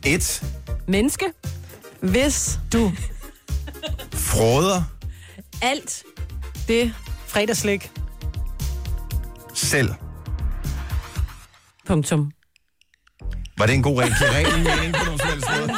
et,
menneske
hvis
Du.
fråder,
alt
det
Fredagslik.
Selv.
Punktum.
Var det en god regel? Kan jeg reglen mening på nogen som helst måde?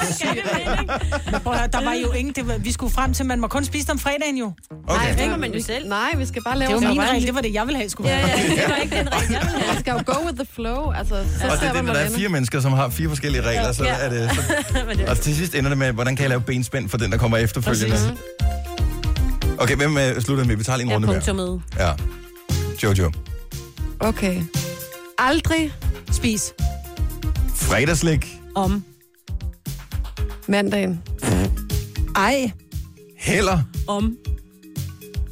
Men prøv at høre, der var jo ingen... Det var, vi skulle frem til, man må kun spise det om fredagen jo.
Okay.
Nej,
det
må man jo selv. Nej, vi skal bare
lave
Det
så
var min
meget.
regel. Det var det, jeg ville have, skulle være. Ja, ja.
Det var ikke den rigtige. Man skal jo go with the flow. Altså, så
Og det
ser
er det,
man,
når der er
hvordan-
fire mennesker, som har fire forskellige regler, så er det... Så, og til sidst ender det med, hvordan kan jeg lave benspænd for den, der kommer efterfølgende? Okay, hvem øh, slutter med? Vi tager lige en runde mere.
med.
Ja. Jojo.
Okay. Aldrig
spis
Fredagslik.
om
mandagen. Ej,
Heller.
om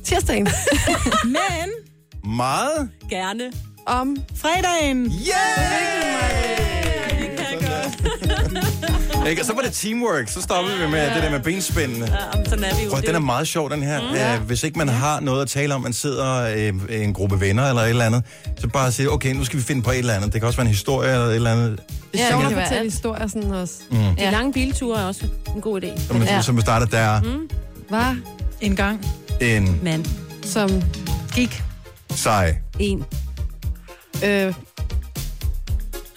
tirsdagen.
Men
Meget.
gerne
om
fredagen.
Yeah! Ikke? Og så var det teamwork. Så stopper vi med det der med benspændene.
om sådan er vi jo.
Prøv, den er meget sjov, den her. Mm. Ja. Hvis ikke man har noget at tale om, man sidder øh, en gruppe venner eller et eller andet, så bare sige, okay, nu skal vi finde på et eller andet. Det kan også være en historie eller et eller andet.
Det er sjovt at
være
fortælle
alt.
historier sådan også.
Mm.
De lange bilture er også en god idé.
Som, ja. som starter der
Var
en gang
en
mand,
som
gik
sej.
en
øh,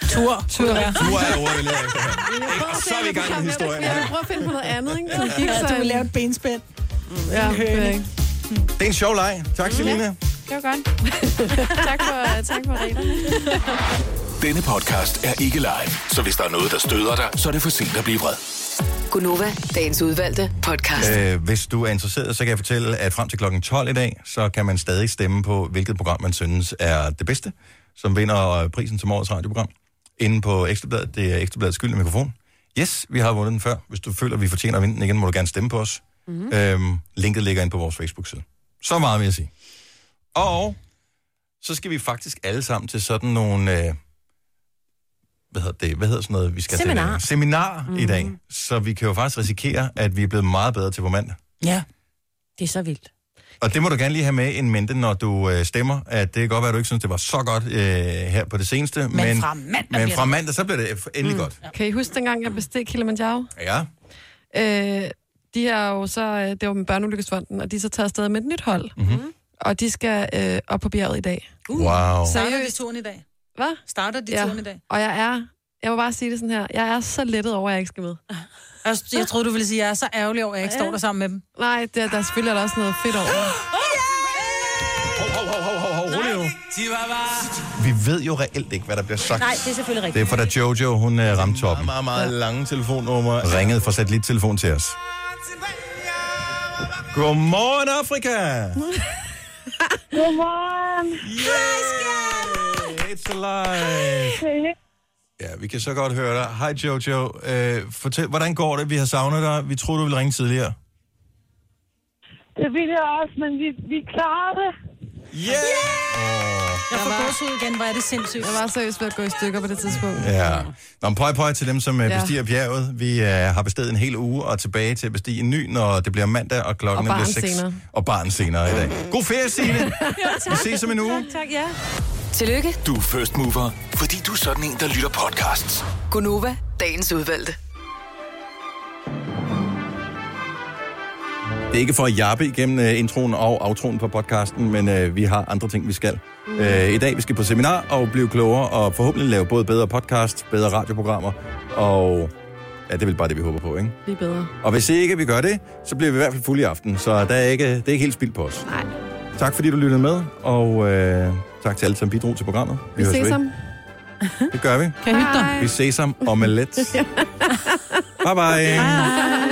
tur.
Tur.
Nu er ordet, vi lærer efter her. Ikke? Og så er vi i gang med historien.
Jeg vil prøve at finde på noget andet, ikke? Som gik
Ja,
så
du vil lave et benspænd.
Ja, det ved jeg ikke.
Det er en sjov leg. Tak, Selina.
Det var godt. tak, for, øh, tak for reglerne.
Denne podcast er ikke live, så hvis der er noget, der støder dig, så er det for sent at blive vred.
Gunova, dagens udvalgte podcast.
Øh, hvis du er interesseret, så kan jeg fortælle, at frem til klokken 12 i dag, så kan man stadig stemme på, hvilket program man synes er det bedste, som vinder øh, prisen som årets radioprogram. Inde på Ekstrabladet. Det er Ekstrabladets skyldende mikrofon. Yes, vi har vundet den før. Hvis du føler, at vi fortjener at vinde den igen, må du gerne stemme på os. Mm. Øhm, linket ligger inde på vores Facebook-side. Så meget vil jeg sige. Og så skal vi faktisk alle sammen til sådan nogle... Øh, hvad hedder det? Hvad hedder sådan noget, vi skal
Seminar.
til? Seminar mm. i dag. Så vi kan jo faktisk risikere, at vi er blevet meget bedre til på mandag.
Ja.
Det er så vildt.
Og det må du gerne lige have med en mente, når du øh, stemmer, at det kan godt være, at du ikke synes, det var så godt øh, her på det seneste. Men,
fra mandag
men
bliver
fra
det-
mandag, så bliver det endelig mm. godt.
Kan I huske dengang, jeg bestilte Kilimanjaro?
Ja.
Øh, de er jo så, øh, det var med Børneulykkesfonden, og de er så taget afsted med et nyt hold.
Mhm.
Mm-hmm. Og de skal øh, op på bjerget i dag.
Uh. Wow.
Starter de turen i dag?
Hvad?
Starter de
Ja.
turen i dag?
Og jeg er, jeg må bare sige det sådan her, jeg er så lettet over, at jeg ikke skal med.
Jeg, Altså, jeg troede, du ville sige, at jeg er så ærgerlig over, at jeg ikke
Ja.
står der sammen med dem.
Nej, der, der er selvfølgelig også noget fedt over.
Hov, hov, hov, hov, hov, hov, rolig nu. Vi ved jo reelt ikke, hvad der bliver sagt.
Nej, det er selvfølgelig rigtigt.
Det er for da Jojo, hun øh, ramte toppen. Meget, meget, meget lange telefonnummer. Ringede fra satellittelefon til os. Godmorgen, Afrika!
Godmorgen.
Hej, skat! It's alive! Ja, vi kan så godt høre dig. Hej Jojo. Øh, fortæl, hvordan går det? Vi har savnet dig. Vi troede, du ville ringe tidligere.
Det vil jeg også, men vi, vi klarer det.
Yeah!
Jeg får gåsehud igen, hvor er det sindssygt.
Jeg var seriøst ved at gå i stykker på det tidspunkt.
Ja. Nå, men pøj, pøj til dem, som ja.
Ja.
bestiger bjerget. Vi øh, har besteget en hel uge og er tilbage til at bestige en ny, når det bliver mandag, og klokken
Og
bliver
barn
6.
senere.
Og barn senere i dag. God ferie, Signe!
Jo,
Vi ses om en uge.
Tak, tak, ja.
Tillykke,
Du er first mover, fordi du er sådan en, der lytter podcasts.
Gunova, dagens udvalgte.
Det er ikke for at jappe igennem uh, introen og aftroen på podcasten, men uh, vi har andre ting, vi skal. Mm. Uh, I dag vi skal på seminar og blive klogere, og forhåbentlig lave både bedre podcast, bedre radioprogrammer, og ja, det er vel bare det, vi håber på, ikke?
Lige bedre.
Og hvis ikke vi gør det, så bliver vi i hvert fald fulde i aften, så der er ikke, det er ikke helt spildt på os.
Nej.
Tak fordi du lyttede med, og uh, tak til alle, som bidrog til programmet.
Vi
høres
ses
ved.
om.
Det gør vi.
Kan jeg hygge dig?
Vi ses om om lidt. Bye bye.
Hej.